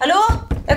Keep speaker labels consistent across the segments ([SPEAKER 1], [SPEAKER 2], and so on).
[SPEAKER 1] Hallo? Jeg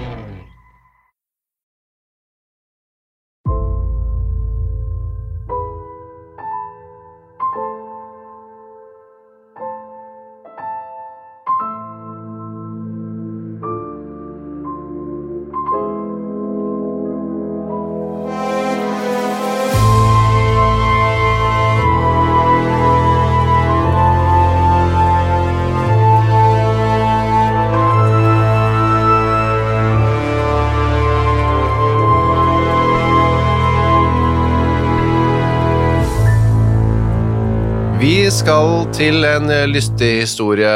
[SPEAKER 2] Vi skal til en eh, lystig historie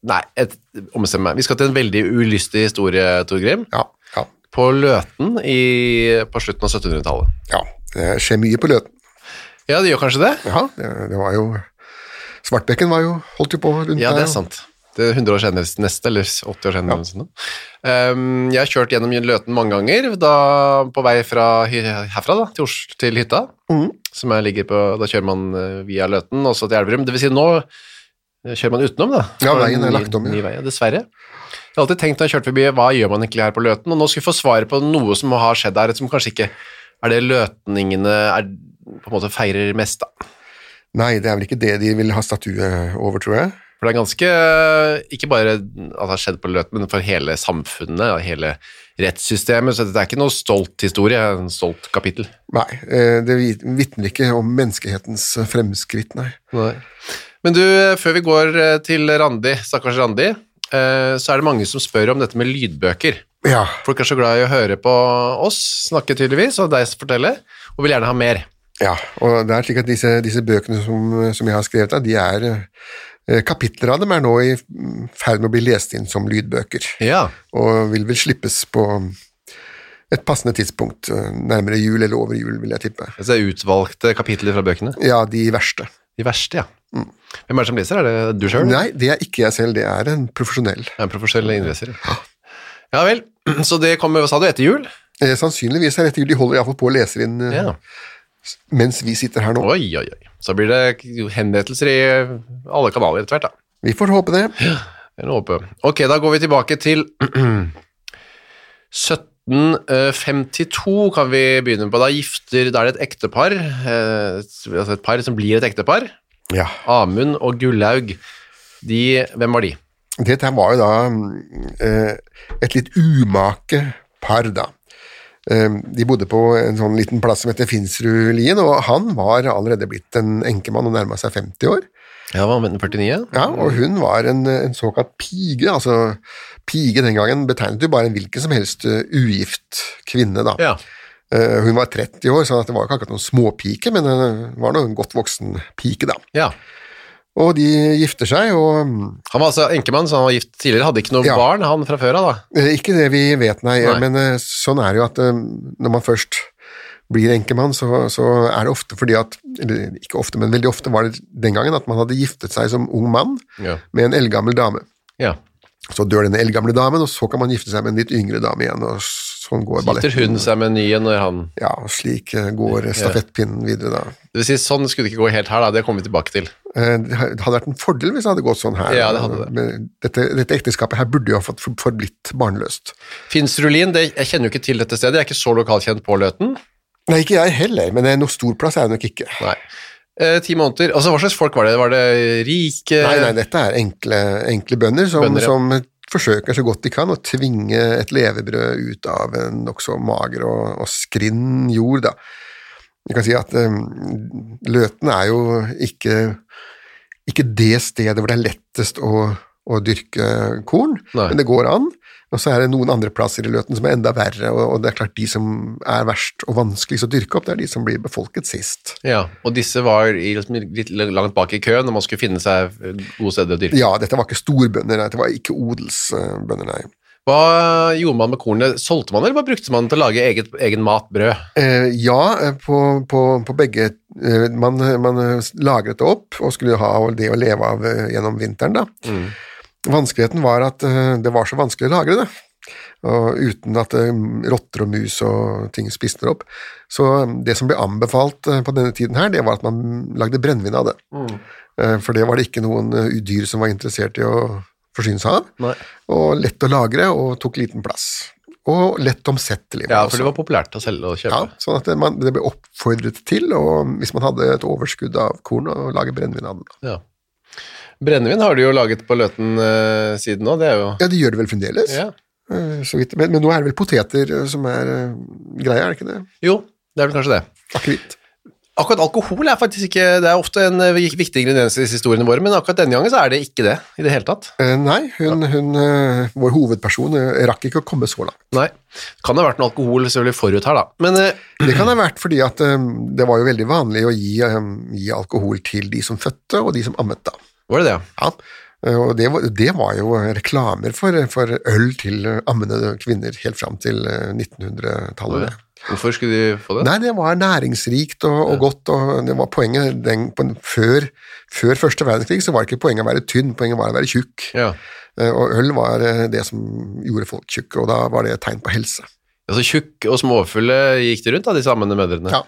[SPEAKER 2] Nei, et, omstem meg. Vi skal til en veldig ulystig historie, Tor Grim.
[SPEAKER 3] Ja, ja,
[SPEAKER 2] På Løten i, på slutten av 1700-tallet.
[SPEAKER 3] ja. Det skjer mye på Løten.
[SPEAKER 2] Ja, det gjør kanskje det?
[SPEAKER 3] Ja, det, det var jo Svartbekken var jo, holdt jo på rundt
[SPEAKER 2] Ja,
[SPEAKER 3] der,
[SPEAKER 2] det
[SPEAKER 3] og-
[SPEAKER 2] er sant. Det er 100 år senere neste, eller 80 år senere. eller noe sånt nå. Um, jeg har kjørt gjennom Løten mange ganger, da, på vei fra hy- herfra da, til, Oslo, til hytta,
[SPEAKER 3] Mm.
[SPEAKER 2] som jeg ligger på, da kjører man eh, via Løten, og så til Elverum. Det vil si, nå eh, kjører man utenom da.
[SPEAKER 3] Ja,
[SPEAKER 2] For
[SPEAKER 3] veien er
[SPEAKER 2] en
[SPEAKER 3] lagt om, ja.
[SPEAKER 2] Ny, ny vei, ja, dessverre. Jeg har alltid tenkt når jeg kjørte forbi, hva gjør man egentlig her på Løten? Og nå skal vi få svaret på noe som har skjedd her, som kanskje ikke er det løtningene er, på en måte feirer mest da.
[SPEAKER 3] Nei, det er vel ikke det de vil ha statue over, tror jeg.
[SPEAKER 2] For det er ganske Ikke bare at det har skjedd på Løten, men for hele samfunnet og hele rettssystemet. Så dette er ikke noe stolt historie, det er en stolt kapittel.
[SPEAKER 3] Nei, eh, det vit- vitner ikke om menneskehetens fremskritt, nei.
[SPEAKER 2] Men du, før vi går eh, til Randi, stakkars Randi, eh, så er det mange som spør om dette med lydbøker.
[SPEAKER 3] Ja,
[SPEAKER 2] Folk er så glad i å høre på oss snakke, tydeligvis, og deg fortelle, og vil gjerne ha mer.
[SPEAKER 3] ja. og det er slik at disse, disse bøkene som, som jeg har skrevet, da, de er eh, Kapitler av dem er nå i mm, ferd med å bli lest inn som lydbøker,
[SPEAKER 2] Ja.
[SPEAKER 3] og vil vel slippes på et passende tidspunkt, eh, nærmere jul eller over jul, vil jeg tippe.
[SPEAKER 2] Altså utvalgte kapitler fra bøkene.
[SPEAKER 3] Ja, de verste.
[SPEAKER 2] De verste, ja. Mm. Hvem er det som leser? Er det du sjøl?
[SPEAKER 3] Nei, det er ikke jeg selv, det er en profesjonell.
[SPEAKER 2] En profesjonell innleser. Ja vel. Så det kommer, sa du, etter jul?
[SPEAKER 3] Eh, Sannsynligvis er dette De holder iallfall på og leser inn eh,
[SPEAKER 2] Ja.
[SPEAKER 3] mens vi sitter her nå.
[SPEAKER 2] Oi, oi, oi. Så blir det henrettelser i alle kanaler etter hvert, da.
[SPEAKER 3] Vi får håpe det.
[SPEAKER 2] Det er noe å håpe. Ok, da går vi tilbake til 1752 eh, kan vi begynne på. Da gifter, da er det et ektepar, eh, altså et par som blir et ektepar.
[SPEAKER 3] Ja.
[SPEAKER 2] Amund og Gullaug. De, hvem var de?
[SPEAKER 3] Dette her var jo da mm, eh, et litt umake par, da. Eh, De bodde på en sånn liten plass som heter Finsrudlien, og han var allerede blitt en enkemann og nærma seg 50 år.
[SPEAKER 2] Ja, var han 49?
[SPEAKER 3] Ja, og hun var en, en såkalt pige, altså pige den gangen betegnet jo bare en hvilken som helst eh, ugift kvinne, da.
[SPEAKER 2] Ja.
[SPEAKER 3] Eh, Hun var 30 år, så det var ikke akkurat noen småpike, men hun var nå en godt voksen pike, da.
[SPEAKER 2] ja.
[SPEAKER 3] Og de gifter seg, og mm,
[SPEAKER 2] Han var altså enkemann, så han var gift tidligere. Hadde ikke noe
[SPEAKER 3] Ja.
[SPEAKER 2] barn, han fra før av, da.
[SPEAKER 3] eh, ikke det vi vet, nei,
[SPEAKER 2] Nei.
[SPEAKER 3] men eh, sånn er det jo at eh, når man først blir enkemann, så, så er det ofte fordi at Eller ikke ofte, men veldig ofte var det den gangen at man hadde giftet seg som ung mann
[SPEAKER 2] Ja.
[SPEAKER 3] med en eldgammel dame.
[SPEAKER 2] Ja.
[SPEAKER 3] Så dør denne eldgamle damen, og så kan man gifte seg med en litt yngre dame igjen, og sånn går
[SPEAKER 2] Gifter hun seg med en ny en når han
[SPEAKER 3] Ja, og slik eh, går stafettpinnen videre, da.
[SPEAKER 2] Det vil si, sånn skulle det ikke gå helt her, da. Det kommer vi tilbake til.
[SPEAKER 3] Eh, Det hadde vært en fordel hvis det hadde gått sånn her.
[SPEAKER 2] Ja, det hadde det.
[SPEAKER 3] Men Dette, dette ekteskapet her burde jo ha fått forblitt barnløst.
[SPEAKER 2] Finsrulin, det, jeg kjenner jo ikke til dette stedet, jeg er ikke så lokalkjent på Løten.
[SPEAKER 3] Nei, ikke jeg heller, men det er noe stor plass er det nok ikke.
[SPEAKER 2] Nei. Eh, ti måneder, altså hva slags folk var det? Var det rike?
[SPEAKER 3] Nei, nei, dette er enkle, enkle bønder som,
[SPEAKER 2] Bønder, ja.
[SPEAKER 3] som forsøker så godt de kan å tvinge et levebrød ut av en nokså mager og, og skrinn jord, da. Du kan si at eh, Løten er jo ikke, ikke det stedet hvor det er lettest å, å dyrke korn,
[SPEAKER 2] Nei.
[SPEAKER 3] men det går an. Og så er det noen andre plasser i Løten som er enda verre, og, og det er klart de som er verst og vanskeligst å dyrke opp, det er de som blir befolket sist.
[SPEAKER 2] Ja, og disse var i, liksom, litt langt bak i køen når man skulle finne seg gode steder å dyrke.
[SPEAKER 3] Ja, dette var ikke storbønder, nei, dette var ikke odelsbønder, nei.
[SPEAKER 2] Hva gjorde man med kornet? Solgte man det, eller bare brukte man det til å lage eget, egen mat, brød?
[SPEAKER 3] Eh, ja, eh, på, på, på begge eh, man, man eh, lagret det opp og skulle ha det å leve av eh, gjennom vinteren, da.
[SPEAKER 2] Mm.
[SPEAKER 3] Vanskeligheten var at eh, det var så vanskelig å lagre det. Og uten at eh, rotter og mus og ting spiste det opp. Så eh, det som ble anbefalt eh, på denne tiden her, det var at man lagde brennevin av det.
[SPEAKER 2] Mm.
[SPEAKER 3] Eh, For det var det ikke noen eh, dyr som var interessert i å forsyne seg av.
[SPEAKER 2] Nei.
[SPEAKER 3] Og lett å lagre og tok liten plass. Og lett omsettelig. var
[SPEAKER 2] Ja,
[SPEAKER 3] det
[SPEAKER 2] for
[SPEAKER 3] også.
[SPEAKER 2] det var populært å selge og kjøpe.
[SPEAKER 3] Ja, sånn at det- man, det ble oppfordret til, og hvis man hadde et overskudd av korn, å lage brennevin av den.
[SPEAKER 2] Ja. Brennevin har du jo laget på Løten eh, siden nå, det er jo
[SPEAKER 3] Ja, det gjør det vel fremdeles,
[SPEAKER 2] ja.
[SPEAKER 3] eh, så vidt. Men, men nå er det vel poteter eh, som er eh, greia, er det ikke det?
[SPEAKER 2] Jo, det er vel kanskje det.
[SPEAKER 3] Akevitt.
[SPEAKER 2] Akkurat alkohol er faktisk ikke Det er ofte en eh, viktig ingrediens i historiene våre, men akkurat denne gangen så er det ikke det i det hele tatt.
[SPEAKER 3] Eh, Nei, hun, hun, eh, vår hovedperson eh, rakk ikke å komme så langt.
[SPEAKER 2] Nei. Kan det ha vært noe alkohol selvfølgelig forut her, da. Men eh,
[SPEAKER 3] Det kan ha vært fordi at eh, det var jo veldig vanlig å gi, eh, gi alkohol til de som fødte, og de som ammet da.
[SPEAKER 2] var det det?
[SPEAKER 3] Ja, eh, og det var, det var jo reklamer for, eh, for øl til eh, ammende kvinner helt fram til eh, 1900-tallet. det.
[SPEAKER 2] Hvorfor skulle de få det?
[SPEAKER 3] Nei, det var næringsrikt og, og godt, og det var poenget den, på, før, før første verdenskrig så var det ikke poenget å være tynn, poenget var å være tjukk.
[SPEAKER 2] Ja.
[SPEAKER 3] Eh, Og øl var eh, det som gjorde folk tjukke, og da var det et tegn på helse.
[SPEAKER 2] Altså Tjukk og småfulle gikk det rundt, da, de samme mødrene?
[SPEAKER 3] Ja.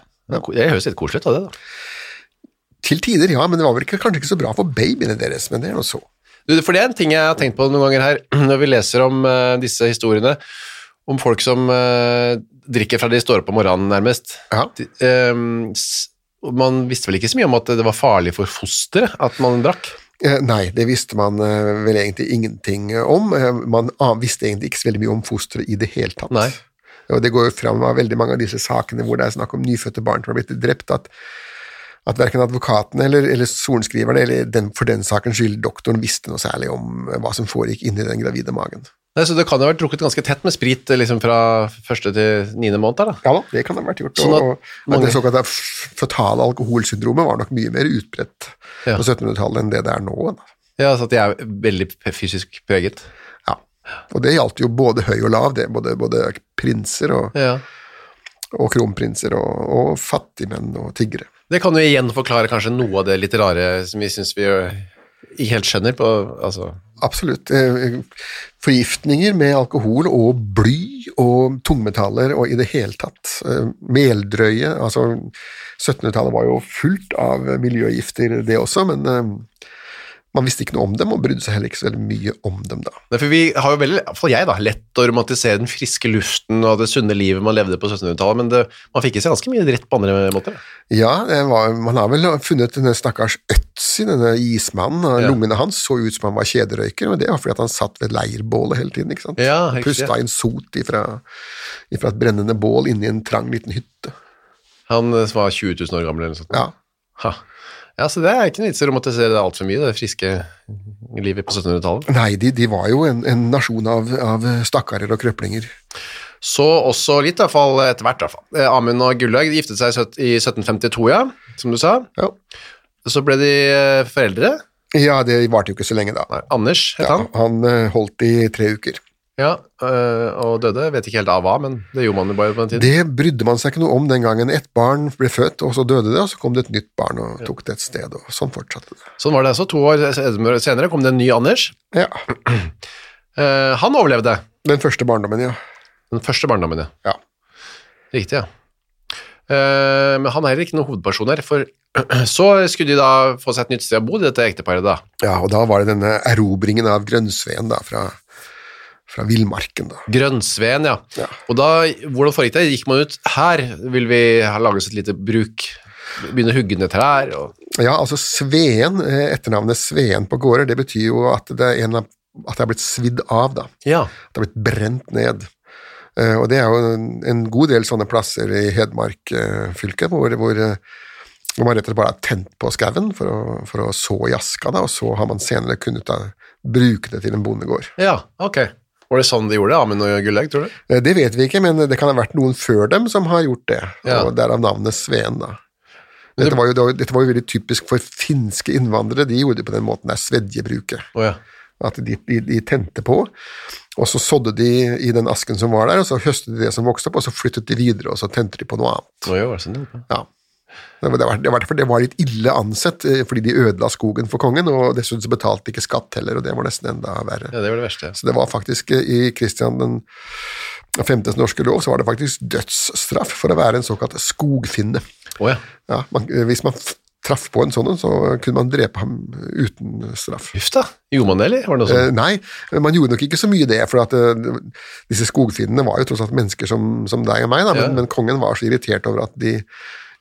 [SPEAKER 2] Det høres litt koselig ut av det, da.
[SPEAKER 3] Til tider, ja, men det var vel ikke, kanskje ikke så bra for babyene deres, men det er nå så.
[SPEAKER 2] Du, for det er en ting jeg har tenkt på noen ganger her, når vi leser om eh, disse historiene, om folk som eh, drikker fra de står opp om morgenen nærmest.
[SPEAKER 3] Ja.
[SPEAKER 2] De, eh, s- og man visste vel ikke så mye om at det var farlig for fosteret at man drakk?
[SPEAKER 3] Eh, Nei, det visste man eh, vel egentlig ingenting eh, om. Eh, Man an- visste egentlig ikke så veldig mye om fosteret i det hele tatt.
[SPEAKER 2] Nei.
[SPEAKER 3] Og det går jo fram av veldig mange av disse sakene hvor det er snakk om nyfødte barn som har blitt drept, at, at verken advokatene eller, eller sorenskriverne, eller den, for den sakens skyld doktoren, visste noe særlig om eh, hva som foregikk inni den gravide magen.
[SPEAKER 2] Nei, så det kan jo ha vært drukket ganske tett med sprit eh, liksom fra første til niende måned der, da.
[SPEAKER 3] Ja da, det kan ha vært gjort.
[SPEAKER 2] Sånn at
[SPEAKER 3] og, og at
[SPEAKER 2] mange-
[SPEAKER 3] det såkalte f- føtale alkoholsyndromet var nok mye mer utbredt
[SPEAKER 2] Ja.
[SPEAKER 3] på 1700-tallet enn det det er nå. Da.
[SPEAKER 2] Ja, så at de er veldig p- fysisk preget.
[SPEAKER 3] Ja. Og det gjaldt jo både høy og lav, det, både, både prinser og,
[SPEAKER 2] Ja.
[SPEAKER 3] og kronprinser og, og fattigmenn og tiggere.
[SPEAKER 2] Det kan jo igjen forklare kanskje noe av det litt rare som vi syns vi eh, ikke helt skjønner på altså,
[SPEAKER 3] Absolutt. Eh, Forgiftninger med alkohol og bly og tungmetaller og i det hele tatt. eh, Meldrøye Altså, 1700-tallet var jo fullt av miljøgifter, det også, men eh, man visste ikke noe om dem og brydde seg heller ikke så veldig mye om dem da.
[SPEAKER 2] Nei, for vi har jo veldig, i hvert fall jeg da, lett å romantisere den friske luften og det sunne livet man levde på 1700-tallet, men det, man fikk i seg ganske mye dritt på andre måter.
[SPEAKER 3] Ja, det var, man har vel funnet denne stakkars Øtzi, denne ismannen. og
[SPEAKER 2] Ja.
[SPEAKER 3] Lungene hans så ut som han var kjederøyker, men det var fordi at han satt ved leirbålet hele tiden. ikke sant?
[SPEAKER 2] Ja,
[SPEAKER 3] Og
[SPEAKER 2] riktig.
[SPEAKER 3] Pusta inn sot ifra, ifra et brennende bål inni en trang liten hytte.
[SPEAKER 2] Han eh, som var 20 000 år gammel eller noe sånt.
[SPEAKER 3] Ja,
[SPEAKER 2] Ha. Ja, så det er ikke noe vits i å romantisere det alt for mye, det friske livet på 1700-tallet.
[SPEAKER 3] Nei, de, de var jo en, en nasjon av, av stakkarer og krøplinger.
[SPEAKER 2] Så også litt i hvert fall etter hvert i hvert fall. Eh, Amund og Gullaug giftet seg i søt- i 1752, ja, som du sa.
[SPEAKER 3] Ja.
[SPEAKER 2] Så ble de eh, foreldre.
[SPEAKER 3] Ja, det varte jo ikke så lenge da.
[SPEAKER 2] Nei, Anders het
[SPEAKER 3] Ja,
[SPEAKER 2] han.
[SPEAKER 3] han eh, holdt i tre uker.
[SPEAKER 2] Ja, eh, og døde. Vet ikke helt av hva, men det gjorde man jo bare på den tiden.
[SPEAKER 3] Det brydde man seg ikke noe om den gangen. Ett barn ble født, og så døde det, og så kom det et nytt barn og tok det et sted, og sånn fortsatte det.
[SPEAKER 2] Sånn var det altså. To år senere kom det en ny Anders.
[SPEAKER 3] Ja,
[SPEAKER 2] Eh, han overlevde
[SPEAKER 3] Den første barndommen, ja.
[SPEAKER 2] den første barndommen, ja.
[SPEAKER 3] Ja.
[SPEAKER 2] Riktig, ja. Eh, men han er heller ikke noen hovedperson her, for så skulle de da få seg et nytt sted å bo, dette ekteparet da.
[SPEAKER 3] ja. Og da var det denne erobringen av grønnsveen da, fra, fra villmarken. da.
[SPEAKER 2] Grønnsveen, ja.
[SPEAKER 3] Ja.
[SPEAKER 2] Og da, hvordan foregikk det? Gikk man ut her, vil vi ha laget oss et lite bruk, begynne å hugge ned trær, og
[SPEAKER 3] Ja, altså Sveen, eh, etternavnet Sveen på gårder, det betyr jo at det er en av at det er blitt svidd av, da.
[SPEAKER 2] Ja.
[SPEAKER 3] Det har blitt brent ned. Eh, Og det er jo en, en god del sånne plasser i Hedmark eh, fylke, hvor, hvor, eh, hvor man rett og slett bare har tent på skauen for, å- for å så i aska, da, og så har man senere kunnet da, bruke det til en bondegård.
[SPEAKER 2] ja, ok. Var det sånn de gjorde det, Amund og Gullhaug, tror du?
[SPEAKER 3] Eh, Det vet vi ikke, men det kan ha vært noen før dem som har gjort det,
[SPEAKER 2] Ja.
[SPEAKER 3] og derav navnet Sveen, da. Dette var, jo, det var jo- dette var jo veldig typisk for finske innvandrere, de gjorde det på den måten der svedjebruket.
[SPEAKER 2] Å ja.
[SPEAKER 3] At de, de, de tente på, og så sådde de i den asken som var der, og så høstet de det som vokste opp, og så flyttet de videre, og så tente de på noe annet.
[SPEAKER 2] Nå gjør det sånn, ja.
[SPEAKER 3] Ja. Det var, det, var, det, var, derfor det var litt ille ansett, eh, fordi de ødela skogen for kongen, og dessuten så betalte de ikke skatt heller, og det var nesten enda verre.
[SPEAKER 2] ja, det var det verste.
[SPEAKER 3] Så det var faktisk, eh, i Kristian den 15. norske lov, så var det faktisk dødsstraff for å være en såkalt skogfinne.
[SPEAKER 2] Å ja.
[SPEAKER 3] Ja, man, eh, hvis man f- traff på en sånn, en, så kunne man drepe ham uten straff.
[SPEAKER 2] Huff da. Gjorde man det, eller var det noe sånn?
[SPEAKER 3] Eh,
[SPEAKER 2] sånt?
[SPEAKER 3] Nei, man gjorde nok ikke så mye det, for at eh, disse skogfinnene var jo tross alt mennesker som, som deg og meg, da, men,
[SPEAKER 2] Ja.
[SPEAKER 3] men kongen var så irritert over at de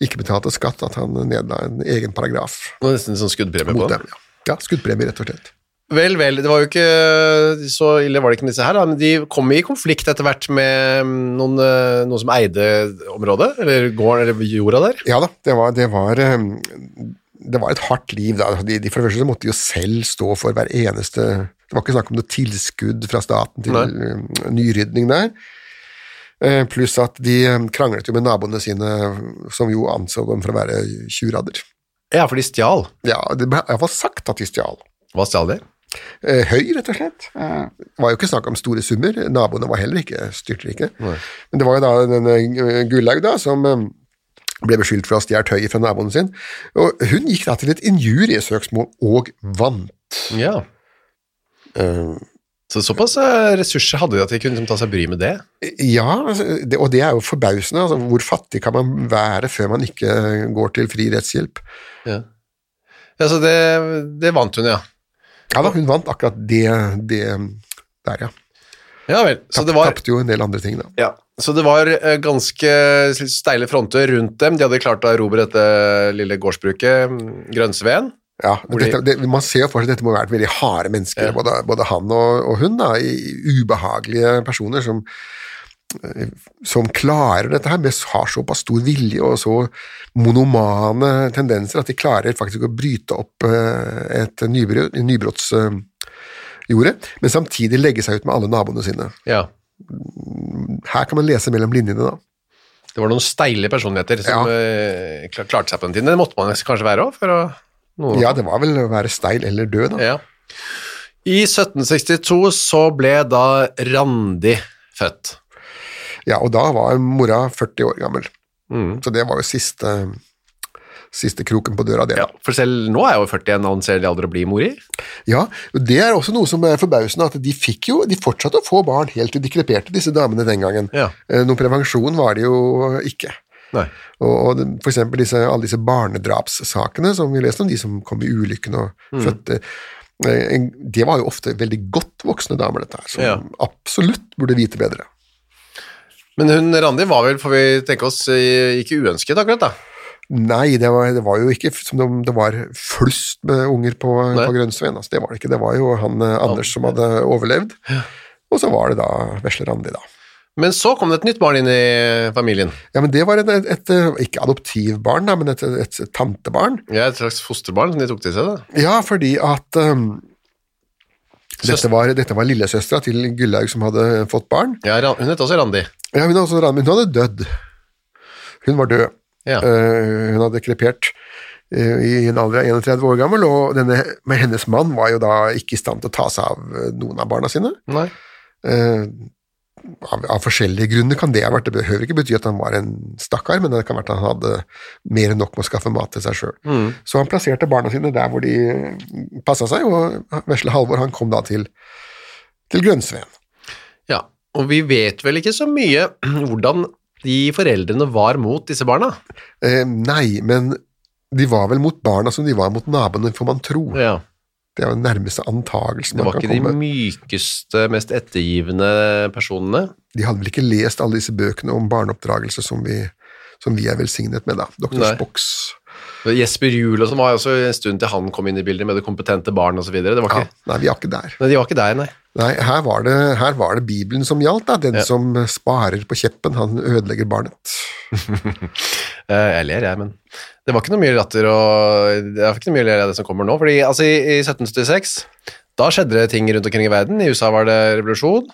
[SPEAKER 3] ikke betalte skatt at han nedla en egen paragraf
[SPEAKER 2] Det var nesten en sånn skuddpremie
[SPEAKER 3] mot
[SPEAKER 2] på den.
[SPEAKER 3] dem. Ja, ja skuddpremie, rett og slett.
[SPEAKER 2] Vel, vel, det var jo ikke så ille var det ikke med disse her, da, men de kom i konflikt etter hvert med noen, eh, noen som eide området, eller gården, eller jorda der.
[SPEAKER 3] Ja da, det var, det var, eh, det var et hardt liv da. Altså, De, de, for det første så måtte de jo selv stå for hver eneste Det var ikke snakk om noe tilskudd fra staten til
[SPEAKER 2] Nei.
[SPEAKER 3] eh, nyrydning der. Eh, Pluss at de eh, kranglet jo med naboene sine, som jo anså dem for å være tjuvradder.
[SPEAKER 2] Ja, for de stjal.
[SPEAKER 3] Ja, det ble iallfall sagt at de stjal.
[SPEAKER 2] Hva stjal de?
[SPEAKER 3] Eh, Høy, rett og slett. Det var jo ikke snakk om store summer. Naboene var heller ikke styrtrike. Men det var jo da denne eh, Gullaug da, som eh, ble beskyldt for å ha stjålet høy fra naboen sin. Og hun gikk da til et injuriesøksmål og vant.
[SPEAKER 2] Ja.
[SPEAKER 3] Eh,
[SPEAKER 2] Så såpass eh, ressurser hadde de at de kunne liksom, ta seg bry med det.
[SPEAKER 3] Ja, altså, det, og det er jo forbausende. Altså, hvor fattig kan man være før man ikke går til fri rettshjelp?
[SPEAKER 2] Ja, ja så det, det vant hun, ja.
[SPEAKER 3] Ja da, hun vant akkurat det, det der, ja.
[SPEAKER 2] Ja vel. Så det var,
[SPEAKER 3] Tapte jo en del andre ting, da.
[SPEAKER 2] ja. så det var eh, ganske steile fronter rundt dem. De hadde klart å erobre dette lille gårdsbruket, mm, Grønnsveen.
[SPEAKER 3] Ja,
[SPEAKER 2] Hvor de-
[SPEAKER 3] dette, det, man ser jo for seg at dette må ha vært veldig harde mennesker, både, både han og, og hun, da, i, ubehagelige personer som, eh, som klarer dette her, men har såpass stor vilje og så monomane tendenser at de klarer faktisk å bryte opp eh, et nybrø- nybrottsjorde, men samtidig legge seg ut med alle naboene sine.
[SPEAKER 2] Ja.
[SPEAKER 3] Her kan man lese mellom linjene, da.
[SPEAKER 2] Det var noen steile personligheter som
[SPEAKER 3] Ja.
[SPEAKER 2] eh, kla- klarte seg på den tiden. Det måtte man kanskje være òg, for å noe-
[SPEAKER 3] Ja, det var vel å være steil eller død, da.
[SPEAKER 2] Ja. I 1762 så ble da Randi født.
[SPEAKER 3] Ja, og da var mora 40 år gammel.
[SPEAKER 2] Mm.
[SPEAKER 3] Så det var jo siste, siste kroken på døra, det.
[SPEAKER 2] Ja,
[SPEAKER 3] da.
[SPEAKER 2] for selv nå er jeg jo 41, anser de aldri å bli mor i.
[SPEAKER 3] Ja, og Det er også noe som er forbausende, at de fikk jo, de fortsatte å få barn helt til de kreperte, disse damene den gangen.
[SPEAKER 2] Ja.
[SPEAKER 3] Eh, Noen prevensjon var det jo ikke.
[SPEAKER 2] Nei.
[SPEAKER 3] Og, og det- for eksempel disse, alle disse barnedrapssakene som vi leste om, de som kom i ulykken og
[SPEAKER 2] Mm.
[SPEAKER 3] fødte eh, en- Det var jo ofte veldig godt voksne damer, dette her, som
[SPEAKER 2] Ja.
[SPEAKER 3] absolutt burde vite bedre.
[SPEAKER 2] Men hun Randi var vel, får vi tenke oss, eh, ikke uønsket akkurat, da.
[SPEAKER 3] Nei, det var, det var jo ikke som om det var flust med unger på,
[SPEAKER 2] Nei.
[SPEAKER 3] på Grønnsveen. Altså, det var det ikke. Det var jo han eh, Anders som hadde overlevd. Og så var det da vesle Randi, da.
[SPEAKER 2] Men så kom det et nytt barn inn i familien.
[SPEAKER 3] Ja, men det var et, et, et eh, ikke adoptivbarn, da, men et, et, et tantebarn.
[SPEAKER 2] Ja, et slags fosterbarn som de tok til seg, da.
[SPEAKER 3] Ja, fordi at um,
[SPEAKER 2] Søster-
[SPEAKER 3] dette var, dette var lillesøstera til Gullaug som hadde fått barn.
[SPEAKER 2] Ja, Ra- hun het også Randi.
[SPEAKER 3] Ja, hun, hadde også, Randi- hun hadde dødd. Hun var død.
[SPEAKER 2] Ja.
[SPEAKER 3] Eh, hun hadde krepert eh, i en alder av 31 år gammel, og denne, men hennes mann var jo da ikke i stand til å ta seg av eh, noen av barna sine.
[SPEAKER 2] Nei.
[SPEAKER 3] Eh, av, av forskjellige grunner kan det ha vært. Det behøver ikke bety at han var en stakkar, men det kan være at han hadde mer enn nok med å skaffe mat til seg sjøl.
[SPEAKER 2] Mm.
[SPEAKER 3] Så han plasserte barna sine der hvor de passa seg, og vesle Halvor han kom da til, til Grønnsveen.
[SPEAKER 2] Ja, og vi vet vel ikke så mye hvordan de foreldrene var mot disse barna.
[SPEAKER 3] Eh, nei, men de var vel mot barna som de var mot naboene, får man tro.
[SPEAKER 2] Ja.
[SPEAKER 3] Det er jo den nærmeste antagelsen
[SPEAKER 2] Det
[SPEAKER 3] man
[SPEAKER 2] var
[SPEAKER 3] kan
[SPEAKER 2] ikke de
[SPEAKER 3] komme med.
[SPEAKER 2] mykeste, mest ettergivende personene.
[SPEAKER 3] De hadde vel ikke lest alle disse bøkene om barneoppdragelse som vi, som vi er velsignet med, da. Dr.
[SPEAKER 2] Nei.
[SPEAKER 3] Spocks
[SPEAKER 2] Jesper Juel og sånn var jo også en stund til han kom inn i bildet med det kompetente barn osv. De
[SPEAKER 3] Ja,
[SPEAKER 2] var
[SPEAKER 3] nei, vi er ikke der.
[SPEAKER 2] ikke der, nei.
[SPEAKER 3] Nei, her var det, her var det Bibelen som gjaldt, da. Den
[SPEAKER 2] Ja.
[SPEAKER 3] som sparer på kjeppen, han ødelegger barnet.
[SPEAKER 2] Eh, Jeg ler, jeg, men det var ikke noe mye latter og Det er ikke noe mye ler av det som kommer nå. Fordi altså, i, i 1776, da skjedde det ting rundt omkring i verden. I USA var det revolusjon.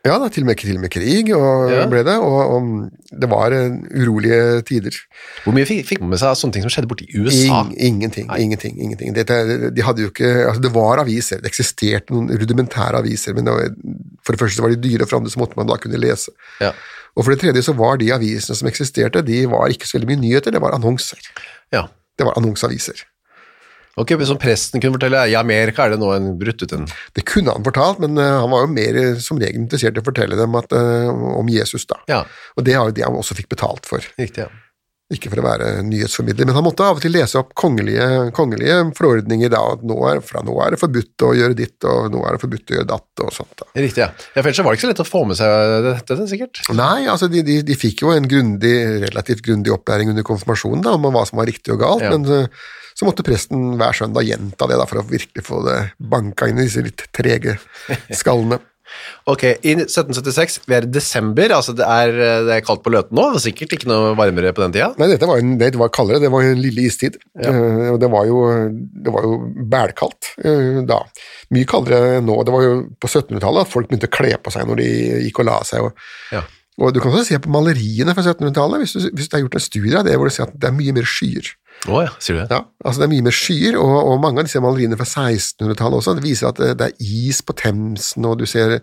[SPEAKER 3] Ja, da, til og med, til og med krig og,
[SPEAKER 2] Ja.
[SPEAKER 3] ble det, og, og det var eh, urolige tider.
[SPEAKER 2] Hvor mye fikk, fikk man med seg av sånne ting som skjedde borti USA?
[SPEAKER 3] Ing, ingenting, ingenting, ingenting. Dette, de hadde jo ikke, altså det var aviser, det eksisterte noen rudimentære aviser, men det var, for det første så var de dyre, og for det andre så måtte man da kunne lese.
[SPEAKER 2] Ja.
[SPEAKER 3] Og for det tredje så var de avisene som eksisterte, de var ikke så veldig mye nyheter, det var annonser.
[SPEAKER 2] ja.
[SPEAKER 3] Det var annonsaviser.
[SPEAKER 2] Ok, men Som presten kunne fortelle, i Amerika er det nå en brutt ut en
[SPEAKER 3] Det kunne han fortalt, men eh, han var jo mer eh, som regel interessert i å fortelle dem at, eh, om Jesus, da.
[SPEAKER 2] Ja.
[SPEAKER 3] Og det var jo det han også fikk betalt for.
[SPEAKER 2] Riktig, ja.
[SPEAKER 3] Ikke for å være nyhetsformidler, men han måtte av og til lese opp kongelige, kongelige forordninger da, at nå er, fra nå er det forbudt å gjøre ditt, og nå er det forbudt å gjøre datt, og sånt. da.
[SPEAKER 2] Riktig, ja. ja for ellers så var det ikke så lett å få med seg eh, dette, sikkert.
[SPEAKER 3] Nei, altså de, de, de fikk jo en grundig, relativt grundig opplæring under konfirmasjonen da, om hva som var riktig og galt,
[SPEAKER 2] Ja.
[SPEAKER 3] men eh, så måtte presten hver søndag gjenta det da, for å virkelig få det banka inn i disse litt trege skallene.
[SPEAKER 2] Ok, i 1776, vi er i desember, altså det er, det er kaldt på løten nå, det var sikkert ikke noe varmere på den tida.
[SPEAKER 3] Nei, dette var, jo en, det var kaldere, det var jo en lille istid. Eh, og det var jo, det var jo bælkaldt eh, da. Mye kaldere enn nå. Det var jo på 1700-tallet at folk begynte å kle på seg når de gikk og la seg. Og,
[SPEAKER 2] Ja.
[SPEAKER 3] og du kan også se på maleriene fra 1700-tallet, hvis, du- hvis det er gjort en studie av det, hvor du ser at det er mye mer skyer.
[SPEAKER 2] Å ja, sier du det?
[SPEAKER 3] Ja, altså det er mye mer skyer, og, og mange av disse maleriene fra 1600-tallet også, det viser at det, det er is på Themsen, og du ser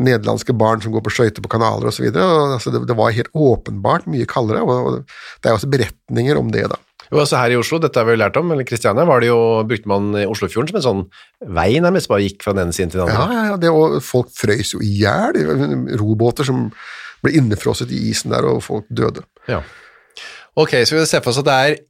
[SPEAKER 3] nederlandske barn som går på skøyter på kanaler osv. Altså det, det var helt åpenbart mye kaldere, og, og det er også beretninger om det, da.
[SPEAKER 2] Jo, altså her i Oslo, dette har vi jo lært om, eller Kristiania, var det jo, brukte man Oslofjorden som en sånn vei nærmest, bare gikk fra den ene siden til den
[SPEAKER 3] Ja,
[SPEAKER 2] andre.
[SPEAKER 3] ja, ja, det, og folk frøys jo i hjel, robåter som ble innefrosset i isen der, og folk døde.
[SPEAKER 2] Ja. Ok, så vi ser for oss at det er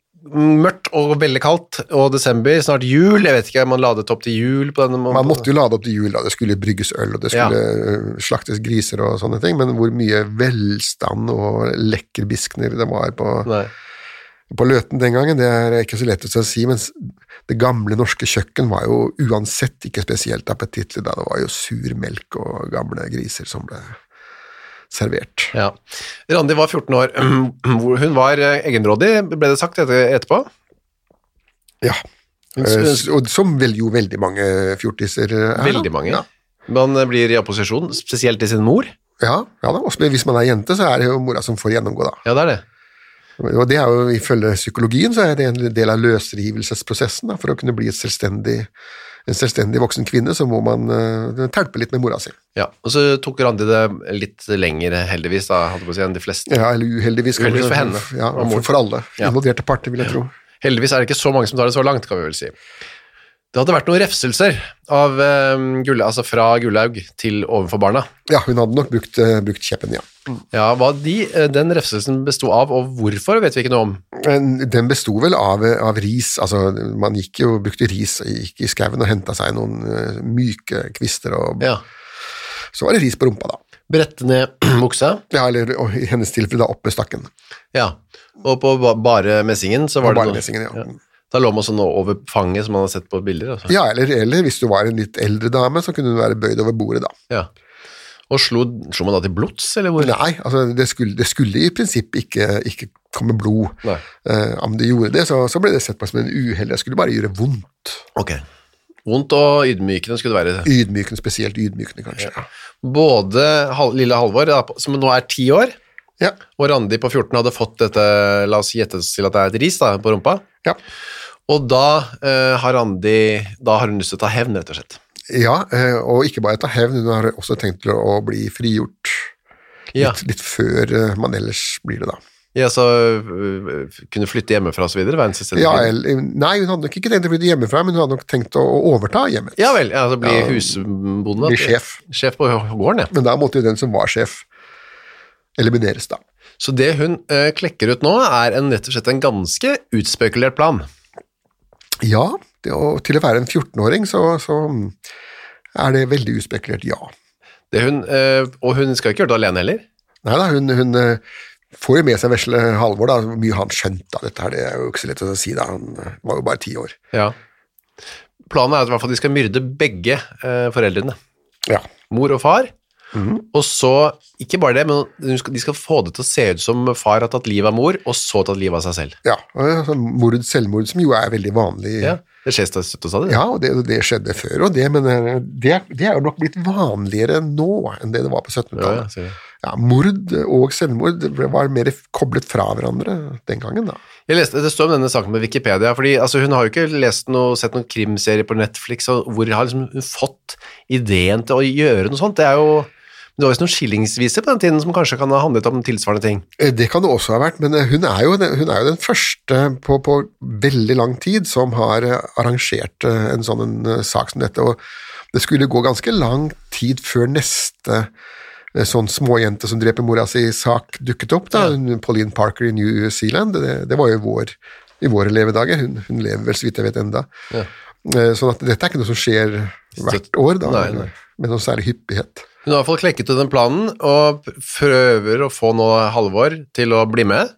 [SPEAKER 2] mørkt og veldig kaldt, og desember, snart jul, jeg vet ikke, man ladet opp til jul på denne måten.
[SPEAKER 3] Man måtte jo lade opp til jul, da. det skulle brygges øl, og det
[SPEAKER 2] Ja.
[SPEAKER 3] skulle øh, slaktes griser og sånne ting, men hvor mye velstand og lekkerbiskner det var på
[SPEAKER 2] Nei.
[SPEAKER 3] på Løten den gangen, det er ikke så lett å si, men s- det gamle norske kjøkken var jo uansett ikke spesielt appetittlig da, det var jo sur melk og gamle griser som ble servert.
[SPEAKER 2] Ja. Randi var 14 år, hvor hun var eh, egenrådig, ble det sagt etter, etterpå.
[SPEAKER 3] Ja,
[SPEAKER 2] Hun,
[SPEAKER 3] eh,
[SPEAKER 2] hun,
[SPEAKER 3] s- og som vel jo veldig mange fjortiser eh, er. da.
[SPEAKER 2] Veldig mange.
[SPEAKER 3] Ja.
[SPEAKER 2] Man eh, blir i opposisjon, spesielt til sin mor.
[SPEAKER 3] Ja, ja da. og spe- hvis man er jente, så er det jo mora som får gjennomgå da.
[SPEAKER 2] Ja, det er det.
[SPEAKER 3] Og det er jo ifølge psykologien så er det en del av løsrivelsesprosessen da, for å kunne bli et selvstendig, en selvstendig voksen kvinne, så må man eh, telpe litt med mora si.
[SPEAKER 2] Ja, Og så tok Randi det litt lenger, heldigvis, da, holdt jeg på å si, enn de fleste.
[SPEAKER 3] Ja, eller uheldigvis. kanskje.
[SPEAKER 2] Uheldigvis for henne.
[SPEAKER 3] Ja,
[SPEAKER 2] Og
[SPEAKER 3] for,
[SPEAKER 2] mor.
[SPEAKER 3] for alle
[SPEAKER 2] Ja.
[SPEAKER 3] involverte parter, vil jeg tro.
[SPEAKER 2] Heldigvis er det ikke så mange som tar det så langt, kan vi vel si. Det hadde vært noen refselser av, eh, Gulla- altså fra Gullaug til overfor barna.
[SPEAKER 3] Ja, hun hadde nok brukt, eh, brukt kjeppen, ja.
[SPEAKER 2] Ja, hva de, eh, Den refselsen besto av, og hvorfor vet vi ikke noe om.
[SPEAKER 3] Men den besto vel av, eh, av ris, altså man gikk jo, brukte ris, gikk i skauen og henta seg noen eh, myke kvister, og
[SPEAKER 2] Ja.
[SPEAKER 3] så var det ris på rumpa, da.
[SPEAKER 2] Brette ned buksa,
[SPEAKER 3] Ja, eller og i hennes tilfelle da opp med stakken.
[SPEAKER 2] ja. og på ba- bare messingen så var
[SPEAKER 3] På
[SPEAKER 2] det
[SPEAKER 3] bare
[SPEAKER 2] noe-
[SPEAKER 3] messingen, ja.
[SPEAKER 2] Da lå man sånn over fanget som man har sett på bilder. Altså.
[SPEAKER 3] Ja, eller, eller hvis du var en litt eldre dame, så kunne hun være bøyd over bordet, da.
[SPEAKER 2] Ja. Og slo, slo man da til blods, eller hvor?
[SPEAKER 3] Nei, altså det skulle, det skulle i prinsippet ikke, ikke komme blod.
[SPEAKER 2] Nei.
[SPEAKER 3] Eh, om det gjorde det, så, så ble det sett på som en uhell. Det skulle bare gjøre vondt.
[SPEAKER 2] Ok. Vondt og ydmykende skulle det være.
[SPEAKER 3] Ydmykende, spesielt ydmykende, kanskje.
[SPEAKER 2] Både Hal lille Halvor, da, som nå er ti år,
[SPEAKER 3] Ja.
[SPEAKER 2] og Randi på 14 hadde fått dette, la oss gjette oss til at det er et ris da, på rumpa,
[SPEAKER 3] Ja.
[SPEAKER 2] og da eh, har Randi, da har hun lyst til å ta hevn, rett og slett.
[SPEAKER 3] ja, eh, og ikke bare ta hevn, hun har også tenkt til å bli frigjort
[SPEAKER 2] Ja,
[SPEAKER 3] litt, litt før eh, man ellers blir det, da.
[SPEAKER 2] ja så øh, kunne flytte hjemmefra og så videre, være en selvstendig
[SPEAKER 3] Ja,
[SPEAKER 2] kvinne.
[SPEAKER 3] eller, nei, hun hadde nok ikke tenkt å flytte hjemmefra, men hun hadde nok tenkt å å overta hjemmet.
[SPEAKER 2] Ja vel, ja, så bli husbonde.
[SPEAKER 3] bli sjef.
[SPEAKER 2] Sjef på gården, ja.
[SPEAKER 3] Men da måtte jo den som var sjef, elimineres, da.
[SPEAKER 2] Så det hun eh, klekker ut nå er en, rett og slett en ganske utspekulert plan.
[SPEAKER 3] Ja, det, og til å være en 14-åring, så, så mm, er det veldig uspekulert ja.
[SPEAKER 2] Det hun, eh, og hun skal ikke gjøre det alene heller.
[SPEAKER 3] Nei da, hun, hun eh, Får jo med seg vesle Halvor, da, hvor mye han skjønte av dette her, det er jo ikke så lett å si, da. Han eh, var jo bare ti år.
[SPEAKER 2] Ja. Planen er at i hvert fall de skal myrde begge eh, foreldrene.
[SPEAKER 3] Ja.
[SPEAKER 2] Mor og far. Og så, ikke bare det, men de skal, de skal få det til å se ut som far har tatt livet av mor, og så tatt livet av seg selv.
[SPEAKER 3] ja. og sånn Mord, selvmord, som jo er veldig vanlig.
[SPEAKER 2] Ja, Det skjer støtt og stadig. det.
[SPEAKER 3] Ja, og det, det skjedde før og det, men eh, det, det er jo nok blitt vanligere nå enn det det var på
[SPEAKER 2] Ja, ja,
[SPEAKER 3] 1700-tallet.
[SPEAKER 2] sier jeg.
[SPEAKER 3] Ja, mord og selvmord ble- var mer koblet fra hverandre den gangen, da.
[SPEAKER 2] Jeg leste, det står om denne saken på Wikipedia, fordi altså, hun har jo ikke lest noe, sett noen krimserier på Netflix, og hvor har liksom hun fått ideen til å gjøre noe sånt? Det er jo det var visst noen skillingsviser på den tiden som kanskje kan ha handlet om tilsvarende ting.
[SPEAKER 3] Eh, Det kan det også ha vært, men eh, hun er jo den, hun er jo den første på, på veldig lang tid som har eh, arrangert eh, en sånn en eh, sak som dette, og det skulle gå ganske lang tid før neste eh, sånn småjente som dreper mora si-sak dukket opp, da. Hun, Pauline Parker i New Zealand, det, det var jo i vår, i våre levedager, hun, hun lever vel så vidt jeg vet enda. Eh, Sånn at dette er ikke noe som skjer hvert år, da,
[SPEAKER 2] Nei, nei.
[SPEAKER 3] med noen særlig hyppighet.
[SPEAKER 2] Hun har i hvert fall klekket ut den planen, og prøver å få nå Halvor til å bli med,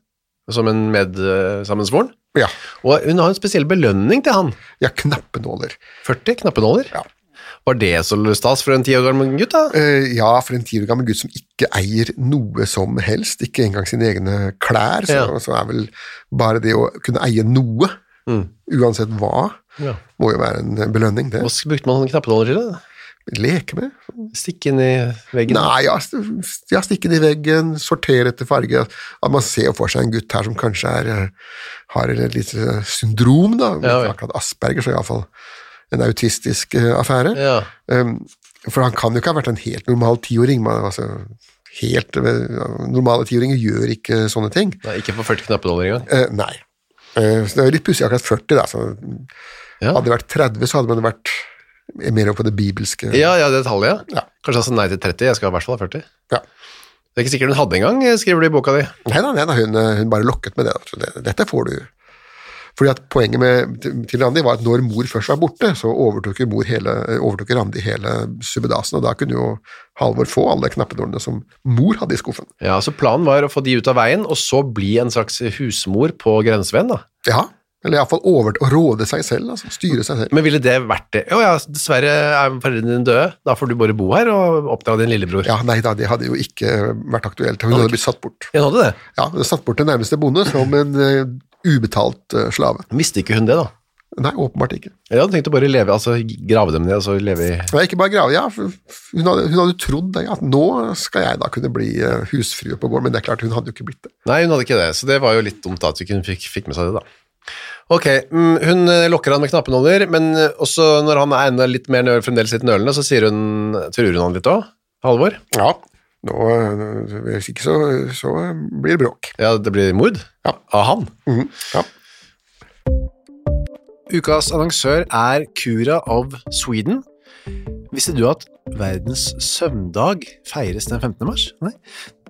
[SPEAKER 2] som en eh, medsammensvoren.
[SPEAKER 3] Ja,
[SPEAKER 2] Og hun har en spesiell belønning til han.
[SPEAKER 3] ja knappenåler.
[SPEAKER 2] 40 knappenåler.
[SPEAKER 3] Ja.
[SPEAKER 2] Var det så stas for en 10 år gammel gutt da?
[SPEAKER 3] Eh, ja, for en ti år gammel gutt som ikke eier noe som helst, ikke engang sine egne klær, så,
[SPEAKER 2] Ja.
[SPEAKER 3] så er vel bare det å kunne eie noe,
[SPEAKER 2] Mm.
[SPEAKER 3] uansett hva,
[SPEAKER 2] Ja.
[SPEAKER 3] må jo være en belønning, det.
[SPEAKER 2] Hva s- brukte man sånne knappenåler til da?
[SPEAKER 3] Leke med.
[SPEAKER 2] Stikke inn i veggen?
[SPEAKER 3] Nei, ja, st- ja, stikke det i veggen, sortere etter farge. At man ser jo for seg en gutt her som kanskje er, eh, har et lite syndrom, da,
[SPEAKER 2] Ja,
[SPEAKER 3] ikke
[SPEAKER 2] ja.
[SPEAKER 3] akkurat Asperger, så iallfall en autistisk eh, affære.
[SPEAKER 2] Ja.
[SPEAKER 3] Um, for han kan jo ikke ha vært en helt normal tiåring. Man, altså, helt eh, normale tiåringer gjør ikke sånne ting.
[SPEAKER 2] Nei, ikke for 40 knappenåler engang.
[SPEAKER 3] Eh, nei. Eh, så det er jo litt pussig akkurat 40, da. Så
[SPEAKER 2] Ja.
[SPEAKER 3] hadde det vært 30, så hadde man vært mer over på det bibelske.
[SPEAKER 2] Ja, ja, det tallet, ja.
[SPEAKER 3] Ja.
[SPEAKER 2] Kanskje han sa nei til 30, jeg skal i hvert fall ha 40.
[SPEAKER 3] Ja.
[SPEAKER 2] Det er ikke sikkert hun hadde engang, skriver du i boka di.
[SPEAKER 3] Nei da, nei da, hun, eh, hun bare lokket med det. da. Så det. Dette får du. Fordi at Poenget med, til Randi var at når mor først var borte, så overtok, jo mor hele, eh, overtok jo Randi hele subbedasen, og da kunne jo Halvor få alle knappenålene som mor hadde i skuffen.
[SPEAKER 2] Ja, så planen var å få de ut av veien, og så bli en slags husmor på grenseveien da.
[SPEAKER 3] Ja, eller iallfall over å råde seg selv, altså styre seg selv.
[SPEAKER 2] Men ville det vært det? Å ja, dessverre er foreldrene dine døde, da får du bare bo her og oppdra din lillebror.
[SPEAKER 3] Ja, nei da, det hadde jo ikke vært aktuelt. Hun hadde blitt satt bort.
[SPEAKER 2] Hun hadde det.
[SPEAKER 3] Ja, hun hadde satt bort til nærmeste bonde som en eh, ubetalt eh, slave.
[SPEAKER 2] Visste ikke hun det da?
[SPEAKER 3] Nei, åpenbart ikke.
[SPEAKER 2] Jeg hadde tenkt å bare leve, altså grave dem ned, og så leve i...
[SPEAKER 3] Nei, ikke bare grave, ja. for Hun hadde, hun hadde trodd det, at nå skal jeg da kunne bli eh, husfrue på gården, men det er klart hun hadde jo ikke blitt det.
[SPEAKER 2] Nei, hun hadde ikke det, så det var jo litt dumt da at hun ikke fikk, fikk med seg det da. Ok, mm, hun eh, lokker han med knappenåler, men eh, også når han er enda litt mer nøl, fremdeles litt nølende, så sier hun, truer hun han litt også, Halvor.
[SPEAKER 3] Ja. Nå, eh, hvis ikke så, så blir det bråk.
[SPEAKER 2] Ja, det blir mord
[SPEAKER 3] Ja.
[SPEAKER 2] av han.
[SPEAKER 3] Mhm, ja.
[SPEAKER 2] Ukas annonsør er Cura of Sweden. Visste du at verdens søvndag feires den 15. mars? Nei.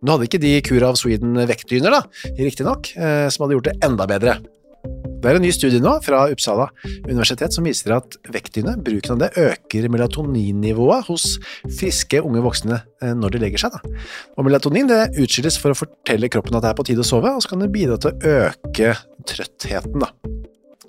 [SPEAKER 2] Nå hadde ikke de Cura of Sweden vektdyner, da, riktignok, eh, som hadde gjort det enda bedre. Det er en ny studie nå fra Uppsala universitet som viser at vektdyne, bruken av det, øker melatoninnivået hos friske unge voksne eh, når de legger seg. Da. Og melatonin det utskilles for å fortelle kroppen at det er på tide å sove, og så kan det bidra til å øke trøttheten. Da.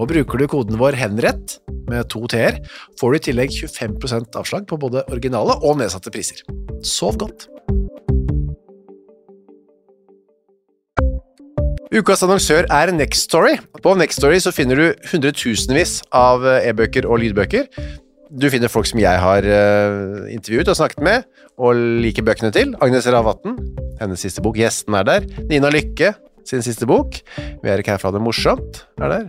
[SPEAKER 2] Og bruker du koden vår henrett med to t-er, får du i tillegg 25 avslag på både originale og nedsatte priser. Sov godt! Ukas annonsør er Next Story. På Next Story så finner du hundretusenvis av eh, e-bøker og lydbøker. Du finner folk som jeg har eh, intervjuet og snakket med, og liker bøkene til. Agnes Ravatn, hennes siste bok. Gjesten er der. Nina Lykke, sin siste bok. Vi er ikke her for å ha det morsomt. er der.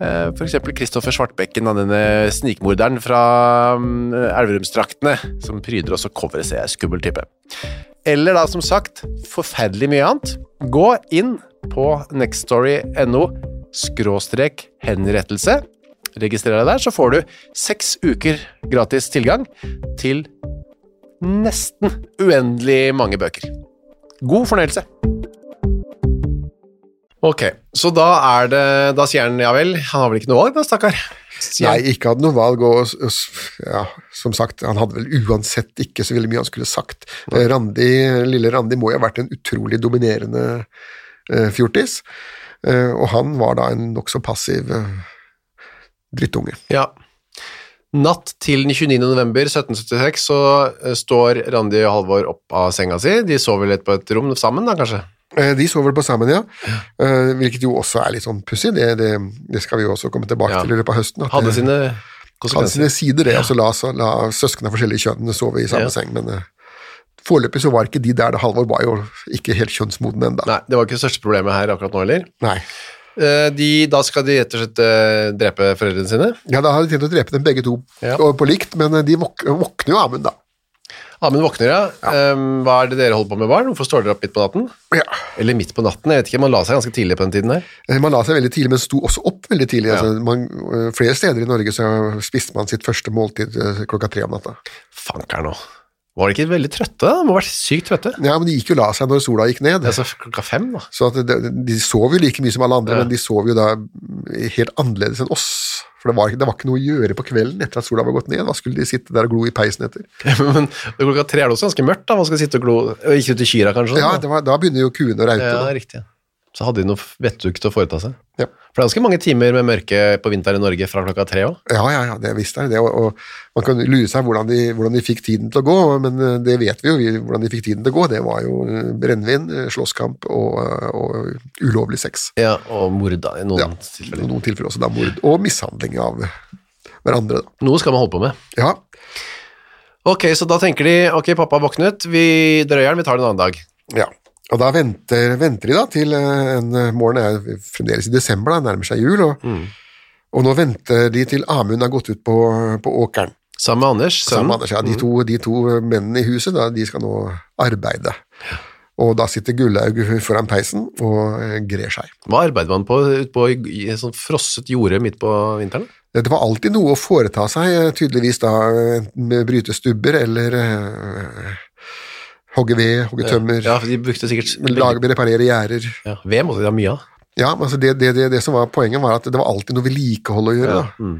[SPEAKER 2] Eh, For eksempel Kristoffer Svartbekken, da, denne snikmorderen fra mm, Elverumsdraktene, som pryder oss å covere seg, skummel type. Eller da, som sagt, forferdelig mye annet. Gå inn på nextstory.no skråstrek henrettelse. Registrer deg der, så får du seks uker gratis tilgang til nesten uendelig mange bøker. God fornøyelse! Ok, så da er det Da sier han ja vel. Han har vel ikke noe valg, da, stakkar? Sier han,
[SPEAKER 3] Nei, ikke hadde noe valg, og s- og s- ja, som sagt, han hadde vel uansett ikke så veldig mye han skulle sagt. Eh, Randi, lille Randi må jo ha vært en utrolig dominerende eh, fjortis, eh, og han var da en nokså passiv eh, drittunge.
[SPEAKER 2] Ja. Natt til den 29. november 1776 så eh, står Randi og Halvor opp av senga si. De sover litt på et rom sammen, da, kanskje?
[SPEAKER 3] Eh, De sover på sammen, ja. Eh, Hvilket jo også er litt sånn pussig, det, det, det skal vi jo også komme tilbake
[SPEAKER 2] Ja.
[SPEAKER 3] til i løpet av høsten. at
[SPEAKER 2] Hadde
[SPEAKER 3] det-
[SPEAKER 2] sine
[SPEAKER 3] hadde
[SPEAKER 2] konsekvenser.
[SPEAKER 3] sine sider, det. Altså, la, så- la søsken av forskjellige kjønn sove i samme
[SPEAKER 2] Ja.
[SPEAKER 3] seng, men eh, foreløpig så var ikke de der. da. Halvor var jo ikke helt kjønnsmoden ennå.
[SPEAKER 2] Nei, det var ikke det største problemet her akkurat nå heller.
[SPEAKER 3] Nei.
[SPEAKER 2] Eh, De, da skal de rett og slett eh, drepe foreldrene sine.
[SPEAKER 3] Ja, da hadde de tenkt å drepe dem begge to
[SPEAKER 2] Ja.
[SPEAKER 3] og på likt, men eh, de våk våkner jo Amund, da.
[SPEAKER 2] Amund våkner, ja. Ehm, hva er det dere holder på med, barn? Hvorfor står dere opp midt på natten?
[SPEAKER 3] Ja.
[SPEAKER 2] Eller midt på natten, jeg vet ikke. Man la seg ganske tidlig på den tiden her.
[SPEAKER 3] Eh, Man la seg veldig tidlig, men sto også opp veldig tidlig. Altså, man, eh, flere steder i Norge så spiste man sitt første måltid eh, klokka tre om natta.
[SPEAKER 2] Fanker nå. Var de ikke veldig trøtte? da? De må ha vært sykt trøtte.
[SPEAKER 3] Ja, men de gikk jo og la seg når sola gikk ned.
[SPEAKER 2] Altså klokka fem, da.
[SPEAKER 3] Så at de, de sov jo like mye som alle andre, men de sov jo da eh, helt annerledes enn oss. For det var, ikke- det var ikke noe å gjøre på kvelden etter at sola var gått ned. Hva skulle de sitte der og glo i peisen etter?
[SPEAKER 2] Men klokka tre er det også ganske mørkt, da. Man skal sitte og glo og Ikke ut i kyra, kanskje?
[SPEAKER 3] Ja,
[SPEAKER 2] sånn,
[SPEAKER 3] det var, Da begynner jo kuene å
[SPEAKER 2] da.
[SPEAKER 3] raute.
[SPEAKER 2] ja,
[SPEAKER 3] da.
[SPEAKER 2] riktig. Så hadde de noe vettug til å foreta seg.
[SPEAKER 3] Ja.
[SPEAKER 2] For det er ganske mange timer med mørke på vinter i Norge fra klokka tre òg.
[SPEAKER 3] Ja, ja, ja, det visst er det. Og, og man kan lure seg hvordan de, hvordan de fikk tiden til å gå, men eh, det vet vi jo, vi, hvordan de fikk tiden til å gå. Det var jo eh, brennevin, eh, slåsskamp og, eh, og ulovlig sex.
[SPEAKER 2] Ja, og mord, da, i noen
[SPEAKER 3] Ja,
[SPEAKER 2] tilfeller.
[SPEAKER 3] noen tilfeller også da mord. Og mishandling av hverandre, da.
[SPEAKER 2] Noe skal man holde på med.
[SPEAKER 3] Ja,
[SPEAKER 2] Ok, så da tenker de ok, pappa har våknet, vi drøyer den, vi tar det en annen dag.
[SPEAKER 3] ja. Og da venter, venter de da til eh, en eh, morgen er fremdeles i desember, da, nærmer seg jul, og, og nå venter de til Amund har gått ut på, på åkeren.
[SPEAKER 2] Sammen med Anders,
[SPEAKER 3] Sammen
[SPEAKER 2] sønnen. Mm.
[SPEAKER 3] med Anders, ja. De to, de to mennene i huset, da, de skal nå arbeide. Og da sitter Gullaug foran peisen og eh, grer seg.
[SPEAKER 2] Hva arbeider man på ute på i i sånn frosset jorde midt på vinteren?
[SPEAKER 3] Det var alltid noe å foreta seg, eh, tydeligvis da enten med bryte stubber eller eh, hogge ved, hogge tømmer,
[SPEAKER 2] Ja, for de brukte sikkert
[SPEAKER 3] lage, reparere gjerder.
[SPEAKER 2] ja, Ved måtte de ha mye av.
[SPEAKER 3] Ja, men altså det, det, det, det som var poenget var at det var alltid noe vedlikehold å gjøre. da.
[SPEAKER 2] Mm.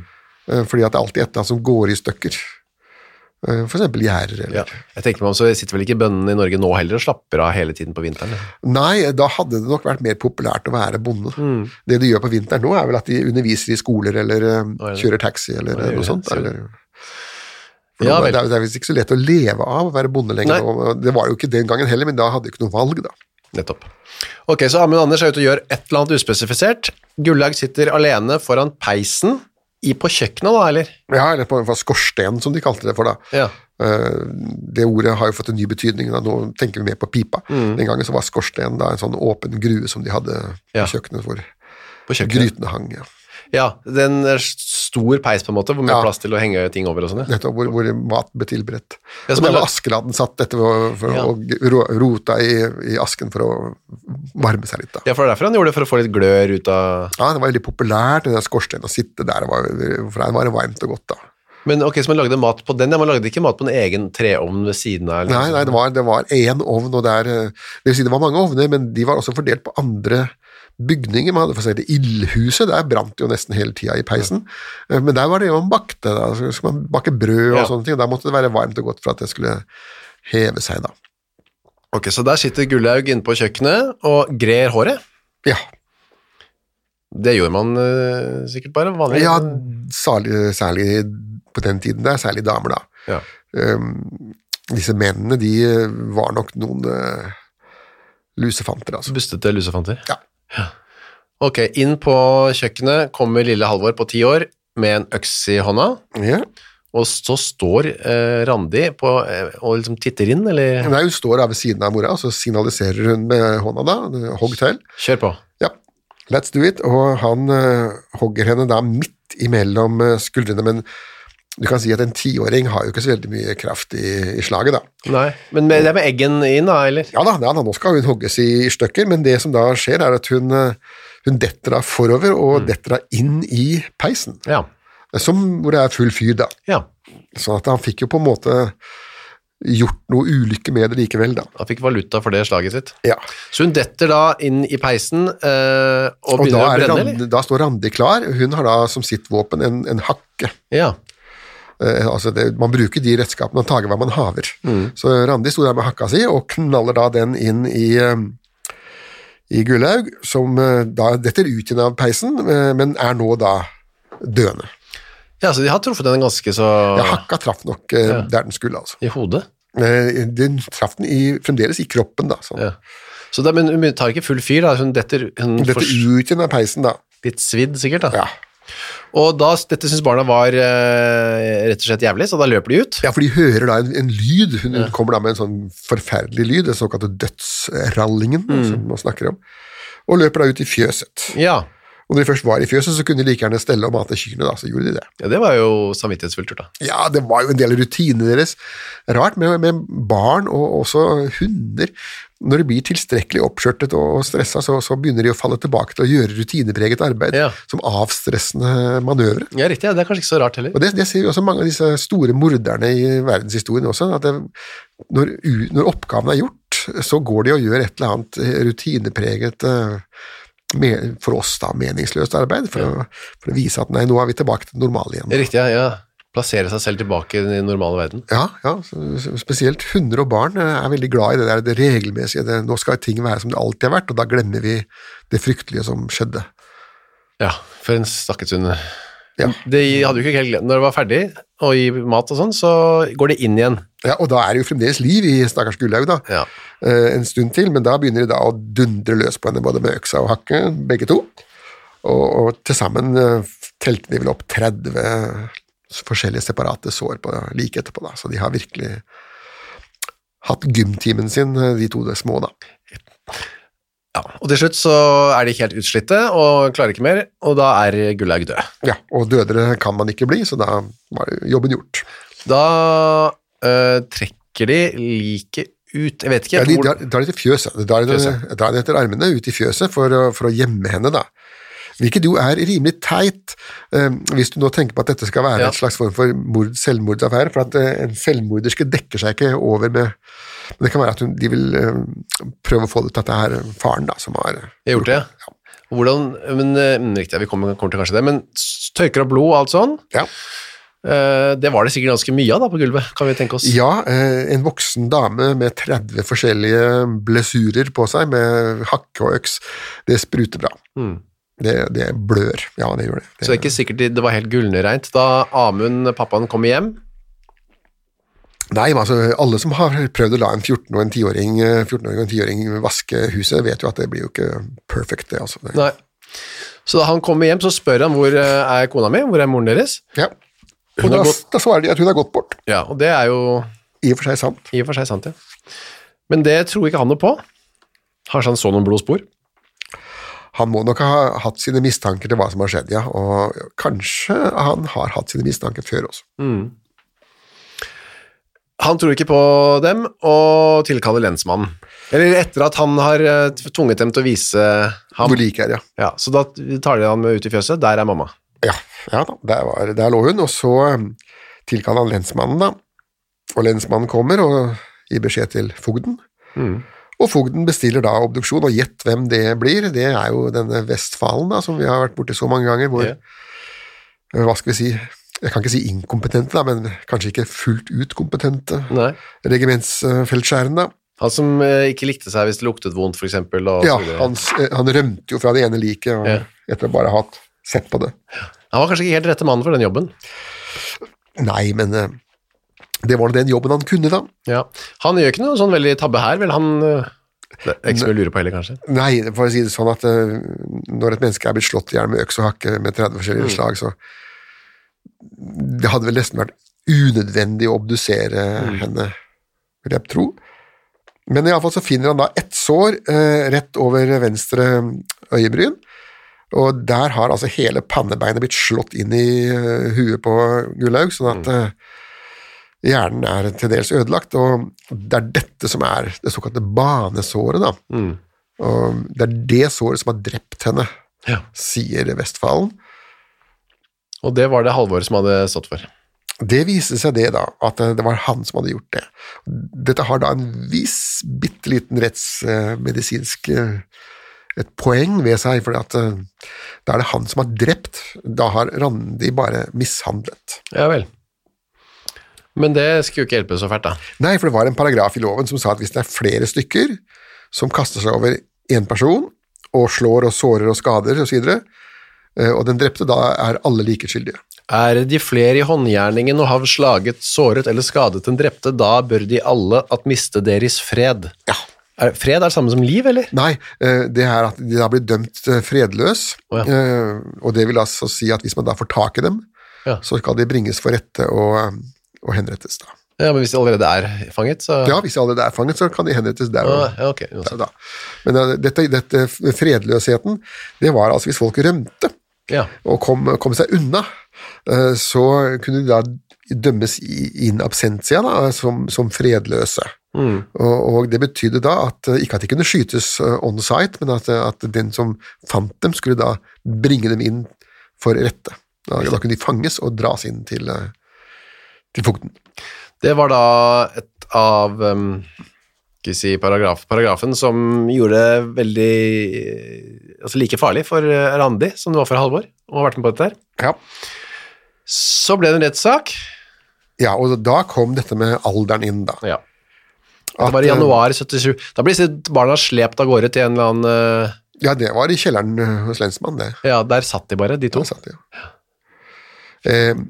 [SPEAKER 3] Eh, Fordi at det er alltid et eller annet som går i stykker. Eh, For eksempel gjerder eller
[SPEAKER 2] Ja. Jeg tenker meg om, så sitter vel ikke bøndene i Norge nå heller og slapper av hele tiden på vinteren?
[SPEAKER 3] Nei, da hadde det nok vært mer populært å være bonde.
[SPEAKER 2] Mm.
[SPEAKER 3] Det de gjør på vinteren nå, er vel at de underviser i skoler, eller eh,
[SPEAKER 2] det?
[SPEAKER 3] kjører taxi, eller
[SPEAKER 2] det
[SPEAKER 3] eh, noe
[SPEAKER 2] gjør
[SPEAKER 3] sånt.
[SPEAKER 2] det, sier du.
[SPEAKER 3] Eller, for
[SPEAKER 2] Ja,
[SPEAKER 3] nå-
[SPEAKER 2] vel.
[SPEAKER 3] det, er, det er visst ikke så lett å leve av å være bonde
[SPEAKER 2] Nei.
[SPEAKER 3] lenger. nå. Det var jo ikke den gangen heller, men da hadde de ikke noe valg, da.
[SPEAKER 2] Nettopp. Ok, så Amund Anders er ute og gjør et eller annet uspesifisert. Gullaug sitter alene foran peisen i på kjøkkenet da, eller?
[SPEAKER 3] Ja, eller på på skorsten, som de kalte det for da.
[SPEAKER 2] Ja.
[SPEAKER 3] Eh, Det ordet har jo fått en ny betydning, da. nå tenker vi mer på pipa.
[SPEAKER 2] Mm.
[SPEAKER 3] Den gangen så var skorsten da en sånn åpen grue som de hadde
[SPEAKER 2] Ja.
[SPEAKER 3] på kjøkkenet, hvor
[SPEAKER 2] På kjøkkenet.
[SPEAKER 3] grytene hang. Ja.
[SPEAKER 2] Ja, det er en eh, stor peis på en måte, hvor mye
[SPEAKER 3] Ja.
[SPEAKER 2] plass til å henge ting over og sånn. ja.
[SPEAKER 3] Nettopp, hvor, hvor mat ble tilberedt.
[SPEAKER 2] Ja,
[SPEAKER 3] og
[SPEAKER 2] som
[SPEAKER 3] der
[SPEAKER 2] en
[SPEAKER 3] var
[SPEAKER 2] lø-
[SPEAKER 3] Askeladden satt dette for, for
[SPEAKER 2] Ja.
[SPEAKER 3] å ro- rota i, i asken for å varme seg litt. da.
[SPEAKER 2] Ja, for det er derfor han gjorde det, for å få litt glør ut av...
[SPEAKER 3] Ja, Det var veldig populært, den der skorstenen, å sitte der. det Var, for der var det varmt og godt, da.
[SPEAKER 2] Men ok, så man lagde mat på den, ja, man lagde ikke mat på en egen treovn ved siden av? liksom. eller noe
[SPEAKER 3] Nei, nei,
[SPEAKER 2] sånt.
[SPEAKER 3] det var, det var én ovn, og der eh, Det vil si, det var mange ovner, men de var også fordelt på andre bygninger. Man hadde for seg det ildhuset, der brant det jo nesten hele tida i peisen. Eh, Men der var det jo man bakte, da. Så skulle man bake brød og
[SPEAKER 2] Ja.
[SPEAKER 3] sånne ting. og Da måtte det være varmt og godt for at det skulle heve seg, da.
[SPEAKER 2] Ok, så der sitter Gullaug inne på kjøkkenet og grer håret.
[SPEAKER 3] Ja.
[SPEAKER 2] Det gjorde man eh, sikkert bare vanlig.
[SPEAKER 3] ja særlig, særlig på den tiden der, særlig damer, da.
[SPEAKER 2] Ja.
[SPEAKER 3] Ehm, disse mennene, de eh, var nok noen eh, lusefanter, altså.
[SPEAKER 2] Bustete lusefanter.
[SPEAKER 3] Ja.
[SPEAKER 2] Ok, inn på kjøkkenet kommer lille Halvor på ti år med en øks i hånda,
[SPEAKER 3] Ja.
[SPEAKER 2] og så står eh, Randi på, eh, og liksom titter inn, eller
[SPEAKER 3] Nei, hun står da ved siden av mora, og så signaliserer hun med hånda da, hogg til.
[SPEAKER 2] kjør på.
[SPEAKER 3] Ja, let's do it. Og han eh, hogger henne da midt imellom eh, skuldrene, men du kan si at en tiåring har jo ikke så veldig mye kraft i, i slaget, da.
[SPEAKER 2] Nei, men med, det er med eggen inn da, eller?
[SPEAKER 3] Ja da, ja da, nå skal hun hogges i stykker, men det som da skjer, er at hun, eh, hun detter da forover,
[SPEAKER 2] Mm.
[SPEAKER 3] og detter da inn i peisen,
[SPEAKER 2] Ja,
[SPEAKER 3] som, hvor det er full fyr, da.
[SPEAKER 2] ja.
[SPEAKER 3] Sånn at han fikk jo på en måte gjort noe ulykke med det likevel, da.
[SPEAKER 2] Han fikk valuta for det slaget sitt.
[SPEAKER 3] Ja.
[SPEAKER 2] Så hun detter da inn i peisen eh, og
[SPEAKER 3] Og da,
[SPEAKER 2] begynner å
[SPEAKER 3] er
[SPEAKER 2] brenne,
[SPEAKER 3] Randi,
[SPEAKER 2] eller?
[SPEAKER 3] da står Randi klar. Hun har da som sitt våpen en, en hakke.
[SPEAKER 2] Ja,
[SPEAKER 3] Eh, altså det, man bruker de redskapene man tager hva man haver. Så Randi sto der med hakka si og knaller da den inn i, eh, i Gullaug, som eh, da detter ut igjen av peisen, eh, men er nå da døende.
[SPEAKER 2] ja så de har truffet henne ganske så
[SPEAKER 3] Ja, hakka traff nok eh, der den skulle, altså.
[SPEAKER 2] i hodet.
[SPEAKER 3] Eh, den traff den i, fremdeles i kroppen, da. Sånn.
[SPEAKER 2] Ja. Så det, men hun tar ikke full fyr, da. Hun detter, hun
[SPEAKER 3] Den Detter
[SPEAKER 2] får
[SPEAKER 3] ut igjen av peisen, da.
[SPEAKER 2] litt svidd, sikkert. da.
[SPEAKER 3] Ja.
[SPEAKER 2] Og da, dette syns barna var eh, rett og slett jævlig, så da løper de ut.
[SPEAKER 3] Ja, for de hører da en, en lyd. Hun hun kommer da med en sånn forferdelig lyd, den såkalte dødsrallingen, som man snakker om, og løper da ut i fjøset.
[SPEAKER 2] Ja.
[SPEAKER 3] Og når de først var i fjøset, så kunne de like gjerne stelle og mate kyrne, da, så gjorde de det.
[SPEAKER 2] ja, det var jo samvittighetsfullt gjort, da.
[SPEAKER 3] Ja, det var jo en del av rutinene deres. Rart med, med barn og også hunder. Når de blir tilstrekkelig oppskjørtet og stressa, så, så begynner de å falle tilbake til å gjøre rutinepreget arbeid
[SPEAKER 2] Ja.
[SPEAKER 3] som avstressende manøvre.
[SPEAKER 2] Ja, riktig. Ja. Det er kanskje ikke så rart heller.
[SPEAKER 3] Og det, det ser vi også mange av disse store morderne i verdenshistorien også, at det, når, u- når oppgaven er gjort, så går de og gjør et eller annet eh, rutinepreget eh, me- for oss da, meningsløst arbeid, for, å, for å vise at nei, nå er vi tilbake til det normale igjen.
[SPEAKER 2] Riktig, ja, ja. Plassere seg selv tilbake i den normale verden.
[SPEAKER 3] Ja, ja, så- så spesielt hunder og barn eh, er veldig glad i det der det regelmessige, det, nå skal ting være som det alltid har vært, og da glemmer vi det fryktelige som skjedde.
[SPEAKER 2] Ja, for en stakkars hund.
[SPEAKER 3] Ja.
[SPEAKER 2] Det hadde jo ikke helt glemt. Når det var ferdig å gi mat og sånn, så går det inn igjen.
[SPEAKER 3] Ja, og da er det jo fremdeles liv i stakkars Gullaug, da.
[SPEAKER 2] Ja.
[SPEAKER 3] eh, en stund til, men da begynner de da å dundre løs på henne, både med øksa og hakke, begge to. Og, og til sammen eh, telte de vel opp 30 forskjellige separate sår på like etterpå, da. Så de har virkelig hatt gymtimen sin, eh, de to små, da.
[SPEAKER 2] Ja. Og til slutt så er de helt utslitte og klarer ikke mer, og da er Gullaug død.
[SPEAKER 3] Ja, og dødere kan man ikke bli, så da var jobben gjort.
[SPEAKER 2] Da eh, trekker de liket ut Jeg vet ikke
[SPEAKER 3] Ja, de
[SPEAKER 2] hvor-
[SPEAKER 3] drar, drar det til fjøset. De drar,
[SPEAKER 2] Fjøset.
[SPEAKER 3] fjøset. drar det etter armene ut i fjøset for, å- for å gjemme henne, da. Hvilket jo er rimelig teit, eh, hvis du nå tenker på at dette skal være
[SPEAKER 2] Ja.
[SPEAKER 3] et slags form for mord, selvmordsaffære, for at eh, en selvmorderske dekker seg ikke over med Men det kan være at hun, de vil eh, prøve å få det ut at det er faren da, som har
[SPEAKER 2] Jeg har gjort det, ja. Hvordan, men, eh, mm, riktig, ja, vi kommer, kommer til kanskje det, men s- tørker av blod og alt sånn,
[SPEAKER 3] Ja,
[SPEAKER 2] eh, det var det sikkert ganske mye av da på gulvet, kan vi tenke oss.
[SPEAKER 3] ja eh, en voksen dame med 30 forskjellige blessurer på seg, med hakke og øks, det spruter bra. Det, det blør. Ja, det gjør det.
[SPEAKER 2] Mm. Så det er ikke sikkert de- det var helt gullnereint. Da Amund, pappaen, kom hjem,
[SPEAKER 3] Nei, men altså, alle som har prøvd å la en 14 og en 10-åring 14 og en 10-åring vaske huset, vet jo at det blir jo ikke perfect, det, altså. Det-
[SPEAKER 2] nei. Så da han kommer hjem, så spør han hvor eh, er kona mi, hvor er moren deres?
[SPEAKER 3] Ja. Og
[SPEAKER 2] Hun
[SPEAKER 3] da,
[SPEAKER 2] har gått-
[SPEAKER 3] da svarer de at hun har gått bort.
[SPEAKER 2] Ja, og det er jo
[SPEAKER 3] I og for seg sant.
[SPEAKER 2] i og for seg sant, ja. Men det tror ikke han noe på. Kanskje han så noen blodspor?
[SPEAKER 3] Han må nok ha hatt sine mistanker til hva som har skjedd, ja. Og kanskje han har hatt sine mistanker før også.
[SPEAKER 2] Han tror ikke på dem, og tilkaller lensmannen. Eller etter at han har eh, tvunget dem til å vise ham.
[SPEAKER 3] Hvor like er, ja.
[SPEAKER 2] Ja, så da tar de han med ut i fjøset. Der er mamma.
[SPEAKER 3] Ja, ja da, der, var, der lå hun, og så um, tilkaller han lensmannen, da. Og lensmannen kommer og gir beskjed til fogden. Og fogden bestiller da obduksjon, og gjett hvem det blir. Det er jo denne Vestfalen, da, som vi har vært borti så mange ganger, hvor
[SPEAKER 2] Ja.
[SPEAKER 3] Hva skal vi si Jeg kan ikke si inkompetente, da, men kanskje ikke fullt ut kompetente
[SPEAKER 2] Nei.
[SPEAKER 3] regimentsfeltskjæren, da.
[SPEAKER 2] Han som eh, ikke likte seg hvis det luktet vondt, for eksempel. Og
[SPEAKER 3] Ja,
[SPEAKER 2] så videre.
[SPEAKER 3] han, s- eh, han rømte jo fra det ene liket og-
[SPEAKER 2] Altså Ja.
[SPEAKER 3] etter å bare ha hatt- sett på det.
[SPEAKER 2] han var kanskje ikke helt rette mannen for den jobben.
[SPEAKER 3] Nei, men eh, det var nå den jobben han kunne, da.
[SPEAKER 2] Ja. Han gjør ikke noe sånn veldig tabbe her, vel? Han eh, Det er ikke så mye å lure på heller, kanskje.
[SPEAKER 3] Nei, for å si det sånn at eh, når et menneske er blitt slått i hjel med øks og hakke med 30 forskjellige slag, så det hadde vel nesten vært unødvendig å obdusere henne, vil jeg tro. Men iallfall så finner han da ett sår eh, rett over venstre eh, øyebryn, og der har altså hele pannebeinet blitt slått inn i eh, huet på Gullaug, sånn at eh, hjernen er til dels ødelagt, og det er dette som er det såkalte banesåret, da.
[SPEAKER 2] Mm.
[SPEAKER 3] Og det er det såret som har drept henne,
[SPEAKER 2] Ja.
[SPEAKER 3] sier Vestfalen.
[SPEAKER 2] Og det var det Halvor som hadde stått for.
[SPEAKER 3] Det viste seg det da, at eh, det var han som hadde gjort det. Dette har da en viss, bitte liten rettsmedisinsk eh, et poeng ved seg, for da er det han som har drept. Da har Randi bare mishandlet.
[SPEAKER 2] Ja vel. Men det skulle jo ikke hjelpe så fælt, da.
[SPEAKER 3] Nei, for det var en paragraf i loven som sa at hvis det er flere stykker som kaster seg over én person og slår og sårer og skader osv., og den drepte, da er alle like skyldige.
[SPEAKER 2] Er de flere i håndgjerningen og har slaget, såret eller skadet den drepte, da bør de alle at miste deres fred. Er, fred er det samme som liv, eller?
[SPEAKER 3] Nei, eh, det er at de da blir dømt eh, fredløs,
[SPEAKER 2] Å ja.
[SPEAKER 3] eh, og det vil altså si at hvis man da får tak i dem,
[SPEAKER 2] Ja.
[SPEAKER 3] så skal de bringes for rette og, eh, og henrettes da.
[SPEAKER 2] Ja, men hvis de allerede er fanget, så
[SPEAKER 3] Ja, hvis de allerede er fanget, så kan de henrettes der
[SPEAKER 2] Ah,
[SPEAKER 3] og
[SPEAKER 2] ja, ok.
[SPEAKER 3] der. og da. Men eh, dette, dette fredløsheten, det var altså hvis folk rømte
[SPEAKER 2] Ja.
[SPEAKER 3] og kom, kom seg unna, eh, så kunne de da dømmes i- in absentia da, som, som fredløse.
[SPEAKER 2] Mm.
[SPEAKER 3] Og, og det betydde da at eh, ikke at de kunne skytes eh, on site, men at, eh, at den som fant dem, skulle da bringe dem inn for rette. Da, da kunne de fanges og dras inn til, eh, til fogden.
[SPEAKER 2] Det var da et av um, skal vi si, paragraf, paragrafen som gjorde det veldig eh, altså like farlig for eh, Randi som det var for Halvor å ha vært med på dette her.
[SPEAKER 3] Ja.
[SPEAKER 2] Så ble det en rettssak.
[SPEAKER 3] ja, og da kom dette med alderen inn, da.
[SPEAKER 2] Ja.
[SPEAKER 3] At,
[SPEAKER 2] Det var i
[SPEAKER 3] eh,
[SPEAKER 2] januar 77. Da blir disse barna slept av gårde til en eller annen eh,
[SPEAKER 3] Ja, det var i kjelleren eh, hos lensmannen, det.
[SPEAKER 2] Ja, der satt de bare, de to.
[SPEAKER 3] Der satt de, ja. Eh,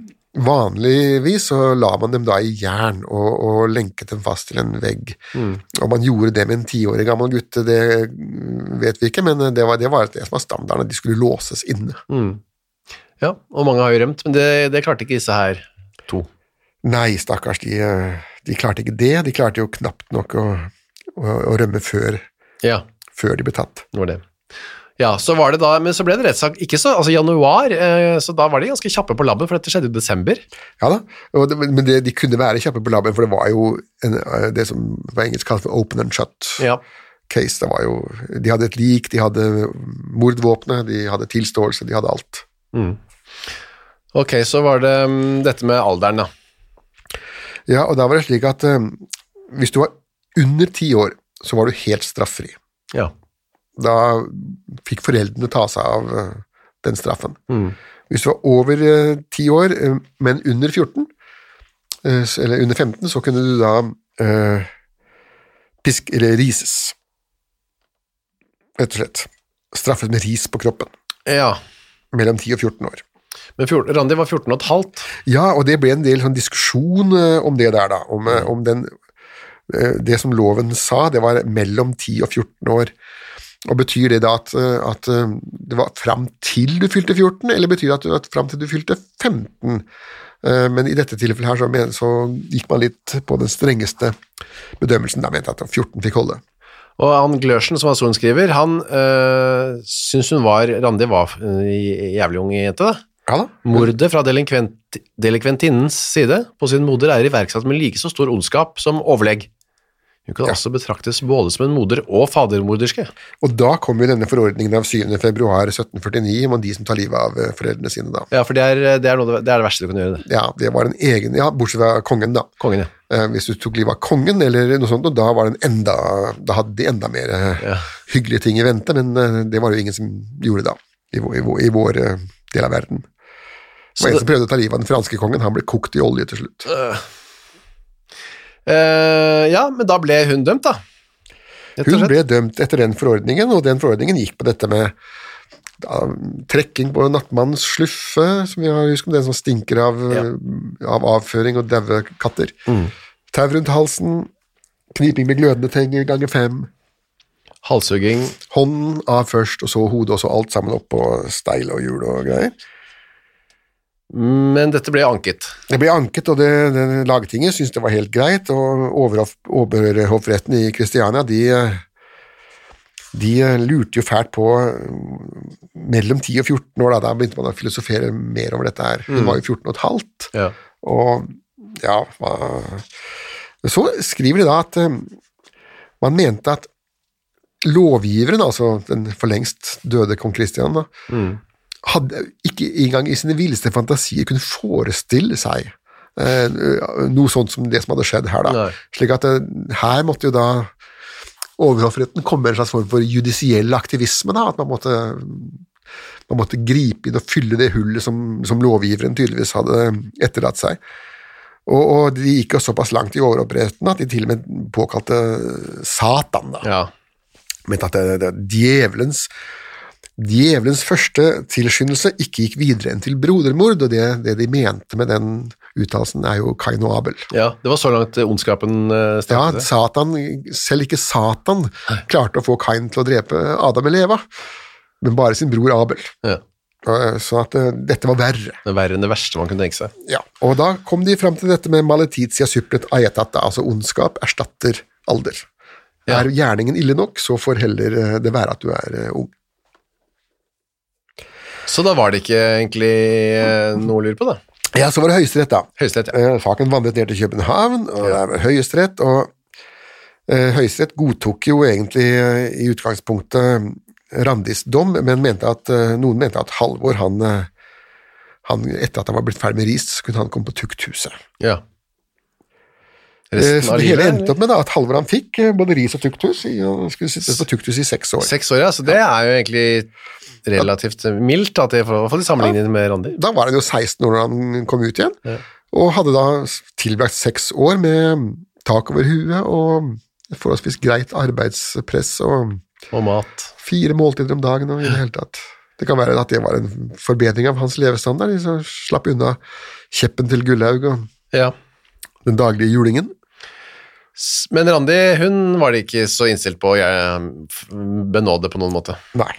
[SPEAKER 3] vanligvis så la man dem da i jern og, og lenket dem fast til en vegg. Om man gjorde det med en tiårig gammel gutt, det mm, vet vi ikke, men det var det, var det som var standarden, at de skulle låses inne.
[SPEAKER 2] Ja, og mange har jo rømt, men det, det klarte ikke disse her to.
[SPEAKER 3] Nei, stakkars, de, eh, de klarte ikke det. De klarte jo knapt nok å, å, å rømme før,
[SPEAKER 2] Ja,
[SPEAKER 3] før de ble tatt.
[SPEAKER 2] det var det. Ja, så var det da, men så ble det rettssak, ikke så, altså januar, eh, så da var de ganske kjappe på labben, for dette skjedde i desember.
[SPEAKER 3] Ja da, og det, men det, de kunne være kjappe på labben, for det var jo en, eh, det som på engelsk kalles for open and shut.
[SPEAKER 2] Ja.
[SPEAKER 3] case. Det var jo, de hadde et lik, de hadde mordvåpenet, de hadde tilståelse, de hadde alt.
[SPEAKER 2] Ok, så var det mm, dette med alderen da.
[SPEAKER 3] Ja, og da var det slik at eh, hvis du var under ti år, så var du helt straffri.
[SPEAKER 2] Ja.
[SPEAKER 3] Da fikk foreldrene ta seg av eh, den straffen. Hvis du var over ti år, eh, men under 14, eh, s- eller under 15, så kunne du da eh, pisk, eller rises. Rett og slett. Straffet med ris på kroppen.
[SPEAKER 2] Ja,
[SPEAKER 3] Mellom 10 og 14 år.
[SPEAKER 2] men 14, Randi var 14 og et halvt.
[SPEAKER 3] Ja, og det ble en del sånn diskusjon eh, om det der, da. Om, eh, om den eh, Det som loven sa, det var mellom 10 og 14 år. Og Betyr det da at, eh, at eh, det var fram til du fylte 14, eller betyr det at, du- at fram til du fylte 15? Eh, Men i dette tilfellet her så, men, så gikk man litt på den strengeste bedømmelsen. Da mente jeg at 14 fikk holde.
[SPEAKER 2] Og han Glørsen, som var sorenskriver, han øh, synes hun var, Randi var øh, jævlig ung jente da.
[SPEAKER 3] Ja da.
[SPEAKER 2] Mordet fra delikvent, delikventinnens side på sin moder er iverksatt med like så stor ondskap som overlegg. Hun kan altså betraktes både som en moder og fadermorderske.
[SPEAKER 3] Og da kom jo denne forordningen av 7. februar 1749 om de som tar livet av eh, foreldrene sine da.
[SPEAKER 2] Ja, for det er eh, det, er noe, av det- det, er det verste du kan gjøre. det.
[SPEAKER 3] Ja, det var en egen, ja, bortsett fra kongen da.
[SPEAKER 2] Kongen, ja.
[SPEAKER 3] Eh, Hvis du tok livet av kongen eller noe sånt, og da, var det en enda, da hadde de enda mer eh,
[SPEAKER 2] Ja.
[SPEAKER 3] hyggelige ting i vente, men eh, det var det jo ingen som gjorde da, i vår, i vår, i vår eh, del av verden. Det
[SPEAKER 2] Så
[SPEAKER 3] var en
[SPEAKER 2] det-
[SPEAKER 3] som prøvde å ta livet av den franske kongen, han ble kokt i olje til slutt.
[SPEAKER 2] Eh, ja, men da ble hun dømt, da. Rett og
[SPEAKER 3] Hun
[SPEAKER 2] slett.
[SPEAKER 3] ble dømt etter den forordningen, og den forordningen gikk på dette med da, trekking på nattmannens sluffe, som vi har husket om, den som stinker av, av avføring og daue katter.
[SPEAKER 2] Mm.
[SPEAKER 3] Tau rundt halsen, kniping med glødende tenger ganger fem,
[SPEAKER 2] Halshugging.
[SPEAKER 3] hånden av først, og så hodet, og så alt sammen opp på steil og hjul og greier.
[SPEAKER 2] Men dette ble anket.
[SPEAKER 3] Det ble anket, og det, det Lagtinget syntes det var helt greit, og overhoff- overhoffretten i Kristiania de, de lurte jo fælt på mm, mellom 10 og 14 år, da, da begynte man å filosofere mer over dette her. Hun var jo 14 og et halvt,
[SPEAKER 2] Ja.
[SPEAKER 3] og ja hva- Så skriver de da at eh, man mente at lovgiveren, altså den for lengst døde kong Kristian, da, hadde ikke engang i sine villeste fantasier kunne forestille seg eh, noe sånt som det som hadde skjedd her. Da.
[SPEAKER 2] Nei.
[SPEAKER 3] Slik at eh, her måtte jo da overhoffretten komme med en slags form for judisiell aktivisme, da, at man måtte, man måtte gripe inn og fylle det hullet som, som lovgiveren tydeligvis hadde etterlatt seg. Og, og de gikk jo såpass langt i overhoffretten at de til og med påkalte Satan, da
[SPEAKER 2] Ja.
[SPEAKER 3] mente at eh, det, det, djevelens Djevelens første tilskyndelse ikke gikk videre enn til brodermord, og det, det de mente med den uttalelsen, er jo Kain og Abel.
[SPEAKER 2] ja. Det var så langt eh, ondskapen uh,
[SPEAKER 3] Ja,
[SPEAKER 2] strekte seg.
[SPEAKER 3] Satan, selv ikke Satan klarte å få Kain til å drepe Adam eller Eva, men bare sin bror Abel.
[SPEAKER 2] Ja.
[SPEAKER 3] Eh, Så at eh, dette var verre.
[SPEAKER 2] Det er verre enn det verste man kunne tenke seg.
[SPEAKER 3] Ja. Og da kom de fram til dette med maletitia supplet aetata, altså ondskap erstatter alder.
[SPEAKER 2] Ja.
[SPEAKER 3] Er gjerningen ille nok, så får heller eh, det være at du er eh, ung.
[SPEAKER 2] Så da var det ikke egentlig eh, noe å lure på, da.
[SPEAKER 3] Ja, så var det Høyesterett, da.
[SPEAKER 2] Høyesterett, ja.
[SPEAKER 3] Eh, Saken vandret ned til København, og det er Høyesterett, og eh, Høyesterett godtok jo egentlig eh, i utgangspunktet eh, Randis dom, men mente at, eh, noen mente at Halvor, han, eh, han etter at han var blitt ferdig med ris, så kunne han komme på tukthuset.
[SPEAKER 2] ja.
[SPEAKER 3] Eh,
[SPEAKER 2] Resten
[SPEAKER 3] Så
[SPEAKER 2] av
[SPEAKER 3] det hele
[SPEAKER 2] livet?
[SPEAKER 3] endte opp med da, at Halvor han fikk eh, både ris og tukthus, i- og han skulle sittes på tukthus i seks år.
[SPEAKER 2] Seks år, ja. Så det er jo egentlig relativt mildt, da, til, i hvert fall i sammenligning med Randi.
[SPEAKER 3] Da var han jo 16 år da han kom ut igjen, og hadde da tilbrakt seks år med mm, tak over huet og forholdsvis greit arbeidspress og
[SPEAKER 2] Og mat.
[SPEAKER 3] fire måltider om dagen og i det hele tatt. Det kan være at det var en forbedring av hans levestandard, de som slapp unna kjeppen til Gullaug og
[SPEAKER 2] Ja.
[SPEAKER 3] den daglige julingen.
[SPEAKER 2] S- Men Randi, hun var det ikke så innstilt på å eh, f- benåde på noen måte.
[SPEAKER 3] Nei,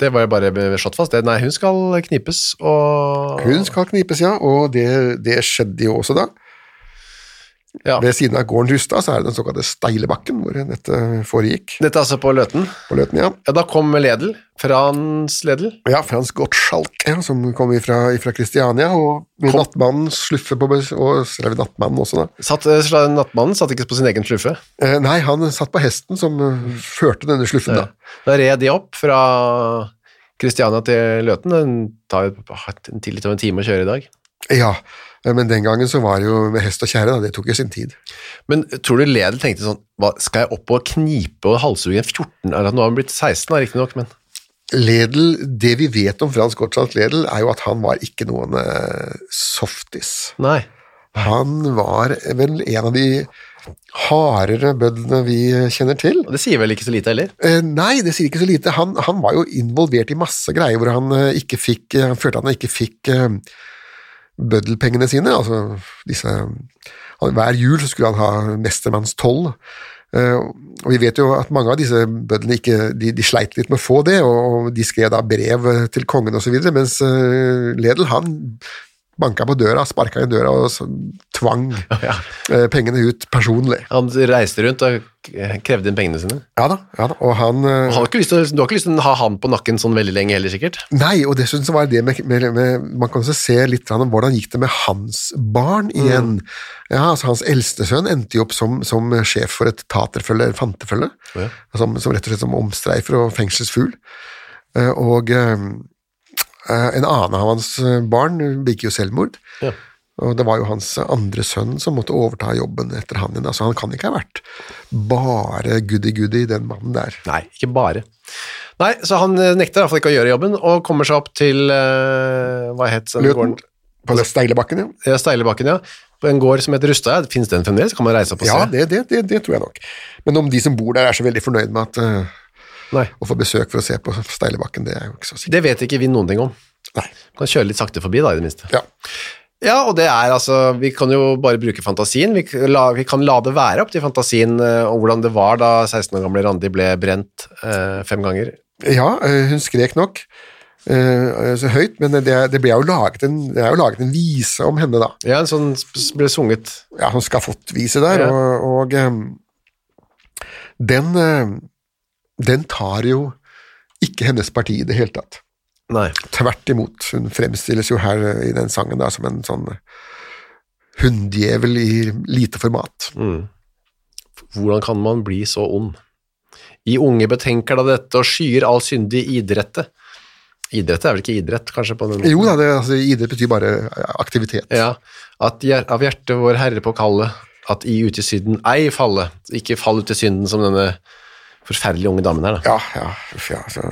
[SPEAKER 2] Det var jo bare be- slått fast. Det, nei, hun skal knipes og
[SPEAKER 3] hun skal knipes, ja, og det, det skjedde jo også da.
[SPEAKER 2] ja.
[SPEAKER 3] Ved siden av gården Rustad så er det den såkalte Steilebakken hvor dette foregikk
[SPEAKER 2] Dette er altså på Løten.
[SPEAKER 3] på Løten, ja.
[SPEAKER 2] Ja, da kom Ledel. Frans Ledel.
[SPEAKER 3] Ja, Frans Gottschalk, ja, som kom ifra, ifra Kristiania, og med nattmannen sluffe på bes- Og skrev nattmannen også, da.
[SPEAKER 2] Satt, eh, sla- nattmannen satt ikke på sin egen sluffe.
[SPEAKER 3] Eh, nei, han satt på hesten som eh, førte denne sluffen, da.
[SPEAKER 2] Da red de opp fra Kristiania til Løten. Den tar jo hatt en- til litt over en time å kjøre i dag.
[SPEAKER 3] Ja, eh, men den gangen så var det jo med hest og kjære, da. Det tok jo sin tid.
[SPEAKER 2] Men tror du Ledel tenkte sånn hva, Skal jeg opp og knipe og halshugge en 14 eller, Nå har han blitt 16, da, riktignok, men
[SPEAKER 3] Ledel, det vi vet om Frans Gottschalk Ledel, er jo at han var ikke noen eh, softis.
[SPEAKER 2] Nei.
[SPEAKER 3] Han var vel en av de hardere bøndene vi kjenner til.
[SPEAKER 2] Og det sier vel ikke så lite heller.
[SPEAKER 3] Eh, nei, det sier ikke så lite. Han, han var jo involvert i masse greier hvor han eh, ikke fikk eh, Han følte at han ikke fikk eh, bøddelpengene sine. Altså disse han, Hver jul så skulle han ha mestermanns toll. Eh, og vi vet jo at mange av disse bødlene ikke, de, de sleit litt med å få det, og de skrev da brev eh, til kongen osv., mens eh, Ledel han banka på døra, sparka i døra og så tvang eh, pengene ut personlig.
[SPEAKER 2] Han reiste rundt og eh, krevde inn pengene sine.
[SPEAKER 3] Ja da, ja da. Og han eh,
[SPEAKER 2] Han har ikke lyst til, å- du har ikke lyst til å ha han på nakken sånn veldig lenge heller, sikkert?
[SPEAKER 3] Nei, og dessuten så var det det med, med, med Man kan også se litt grann om hvordan gikk det med hans barn igjen. Ja, altså Hans eldste sønn endte jo opp som, som sjef for et taterfølge, eller fantefølge. Som, som rett og slett som omstreifer og fengselsfugl. Eh, Og eh, eh, en annen av hans barn begikk jo selvmord. Og det var jo hans andre sønn som måtte overta jobben etter han igjen. Altså, han kan ikke ha vært bare goody-goody, den mannen der.
[SPEAKER 2] Nei, ikke bare. Nei, så han eh, nekter i hvert fall ikke å gjøre jobben, og kommer seg opp til eh, Hva het den
[SPEAKER 3] Løten
[SPEAKER 2] gården?
[SPEAKER 3] på Steilebakken, ja.
[SPEAKER 2] Ja, Steilebakken, ja. På en gård som heter Rustad. Fins den fremdeles? Kan man reise opp og
[SPEAKER 3] Ja,
[SPEAKER 2] se?
[SPEAKER 3] det, det, det, det tror jeg nok. Men om de som bor der er så veldig fornøyd med at eh,
[SPEAKER 2] Nei.
[SPEAKER 3] å få besøk for å se på Steilebakken, det er jo ikke så sikkert.
[SPEAKER 2] Det vet ikke vi noen ting om.
[SPEAKER 3] Nei.
[SPEAKER 2] Kan kjøre litt sakte forbi, da, i det minste.
[SPEAKER 3] Ja.
[SPEAKER 2] Ja, og det er altså Vi kan jo bare bruke fantasien. Vi, k- la, vi kan la det være opp til fantasien eh, om hvordan det var da 16 år gamle Randi ble brent eh, fem ganger.
[SPEAKER 3] ja, eh, hun skrek nok eh, så høyt, men det, er- det, ble jo laget en, det er jo laget en vise om henne, da.
[SPEAKER 2] Ja, en sånn sp- ble sunget
[SPEAKER 3] Ja, sånn skafottvise der,
[SPEAKER 2] Ja.
[SPEAKER 3] og, og em, den, eh, den tar jo ikke hennes parti i det hele tatt.
[SPEAKER 2] Nei.
[SPEAKER 3] Tvert imot. Hun fremstilles jo her eh, i den sangen da, som en sånn hunndjevel i lite format.
[SPEAKER 2] Hvordan kan man bli så ond? I unge betenker da dette og skyer all syndig idrette. Idrette er vel ikke idrett, kanskje? på den
[SPEAKER 3] Jo da, det, altså, idrett betyr bare eh, aktivitet.
[SPEAKER 2] Ja, at hjer av hjertet vår Herre på kallet, at i ut i synden ei falle, ikke fall ut i synden som denne forferdelige unge damen her da.
[SPEAKER 3] Ja, ja, uff, ja altså.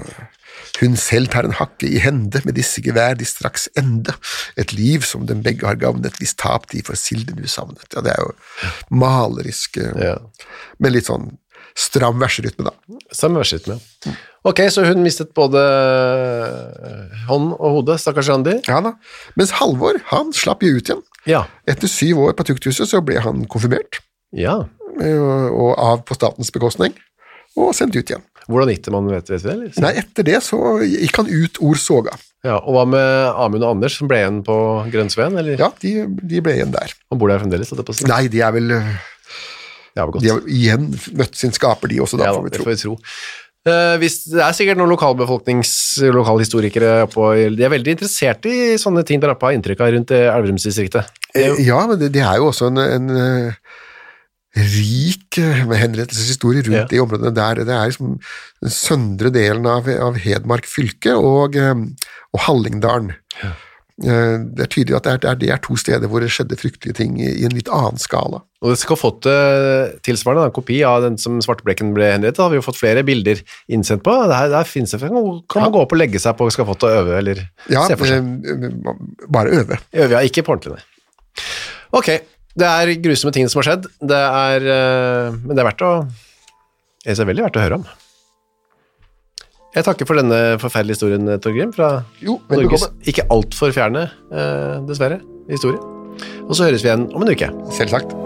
[SPEAKER 3] Hun selv tar en hakke i hende, med disse gevær de straks ende. Et liv som dem begge har gavnet, hvis tap de for silden du savnet. Ja, det er jo malerisk, eh,
[SPEAKER 2] Ja.
[SPEAKER 3] men litt sånn stram verserytme, da.
[SPEAKER 2] Samme verset med. Ok, så hun mistet både hånd og hode, stakkars Randi.
[SPEAKER 3] Ja da. Mens Halvor, han slapp jo ut igjen.
[SPEAKER 2] Ja.
[SPEAKER 3] Etter syv år på tukthuset så ble han konfirmert,
[SPEAKER 2] Ja.
[SPEAKER 3] eh, og og av på statens bekostning, og sendt ut igjen.
[SPEAKER 2] Hvordan gikk det man vet, vet vi det? eller?
[SPEAKER 3] Nei, etter det så gikk han ut ord soga.
[SPEAKER 2] Ja, og hva med Amund og Anders som ble igjen på Grønnsveen, eller?
[SPEAKER 3] Ja, de, de ble igjen der.
[SPEAKER 2] Han bor der fremdeles, holdt jeg på å si.
[SPEAKER 3] Nei, de er vel eh,
[SPEAKER 2] Det er vel godt.
[SPEAKER 3] De har igjen møtt sin skaper, de også, da,
[SPEAKER 2] Ja,
[SPEAKER 3] får vi
[SPEAKER 2] det
[SPEAKER 3] tro.
[SPEAKER 2] får vi tro. Eh, hvis, det er sikkert noen lokalbefolknings- lokalhistorikere oppå De er veldig interessert i sånne ting dere har inntrykk av rundt eh, Elverumsdistriktet.
[SPEAKER 3] Eh, Ja, men det, det er jo også en, en eh, rik eh, henrettelseshistorie rundt
[SPEAKER 2] Ja.
[SPEAKER 3] de områdene der. Det er liksom den søndre delen av, av Hedmark fylke og, eh, og Hallingdalen. Eh, Det er tydelig at det er, det er- det er to steder hvor det skjedde fryktelige ting i, i en litt annen skala.
[SPEAKER 2] Og det skal ha fått eh, tilsvarende da, en kopi av den som Svarteblekken ble henrettet. har vi jo fått flere bilder innsendt på. Der, der finnes det, kan man gå opp og legge seg på skafottet og øve, eller
[SPEAKER 3] Ja,
[SPEAKER 2] se for seg.
[SPEAKER 3] eh, bare øve.
[SPEAKER 2] Øver jeg ikke på ordentlig, nei. Ok, det er grusomme ting som har skjedd. Det er, eh, men det er verdt å Jeg synes det er veldig verdt å høre om. Jeg takker for denne forferdelige historien, eh, Torgrim, fra
[SPEAKER 3] Jo, vel
[SPEAKER 2] Norges
[SPEAKER 3] bekomme.
[SPEAKER 2] ikke altfor fjerne, eh, dessverre, historie. Og så høres vi igjen om en uke.
[SPEAKER 3] Selvsagt.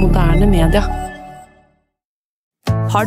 [SPEAKER 4] Moderne media.
[SPEAKER 5] Har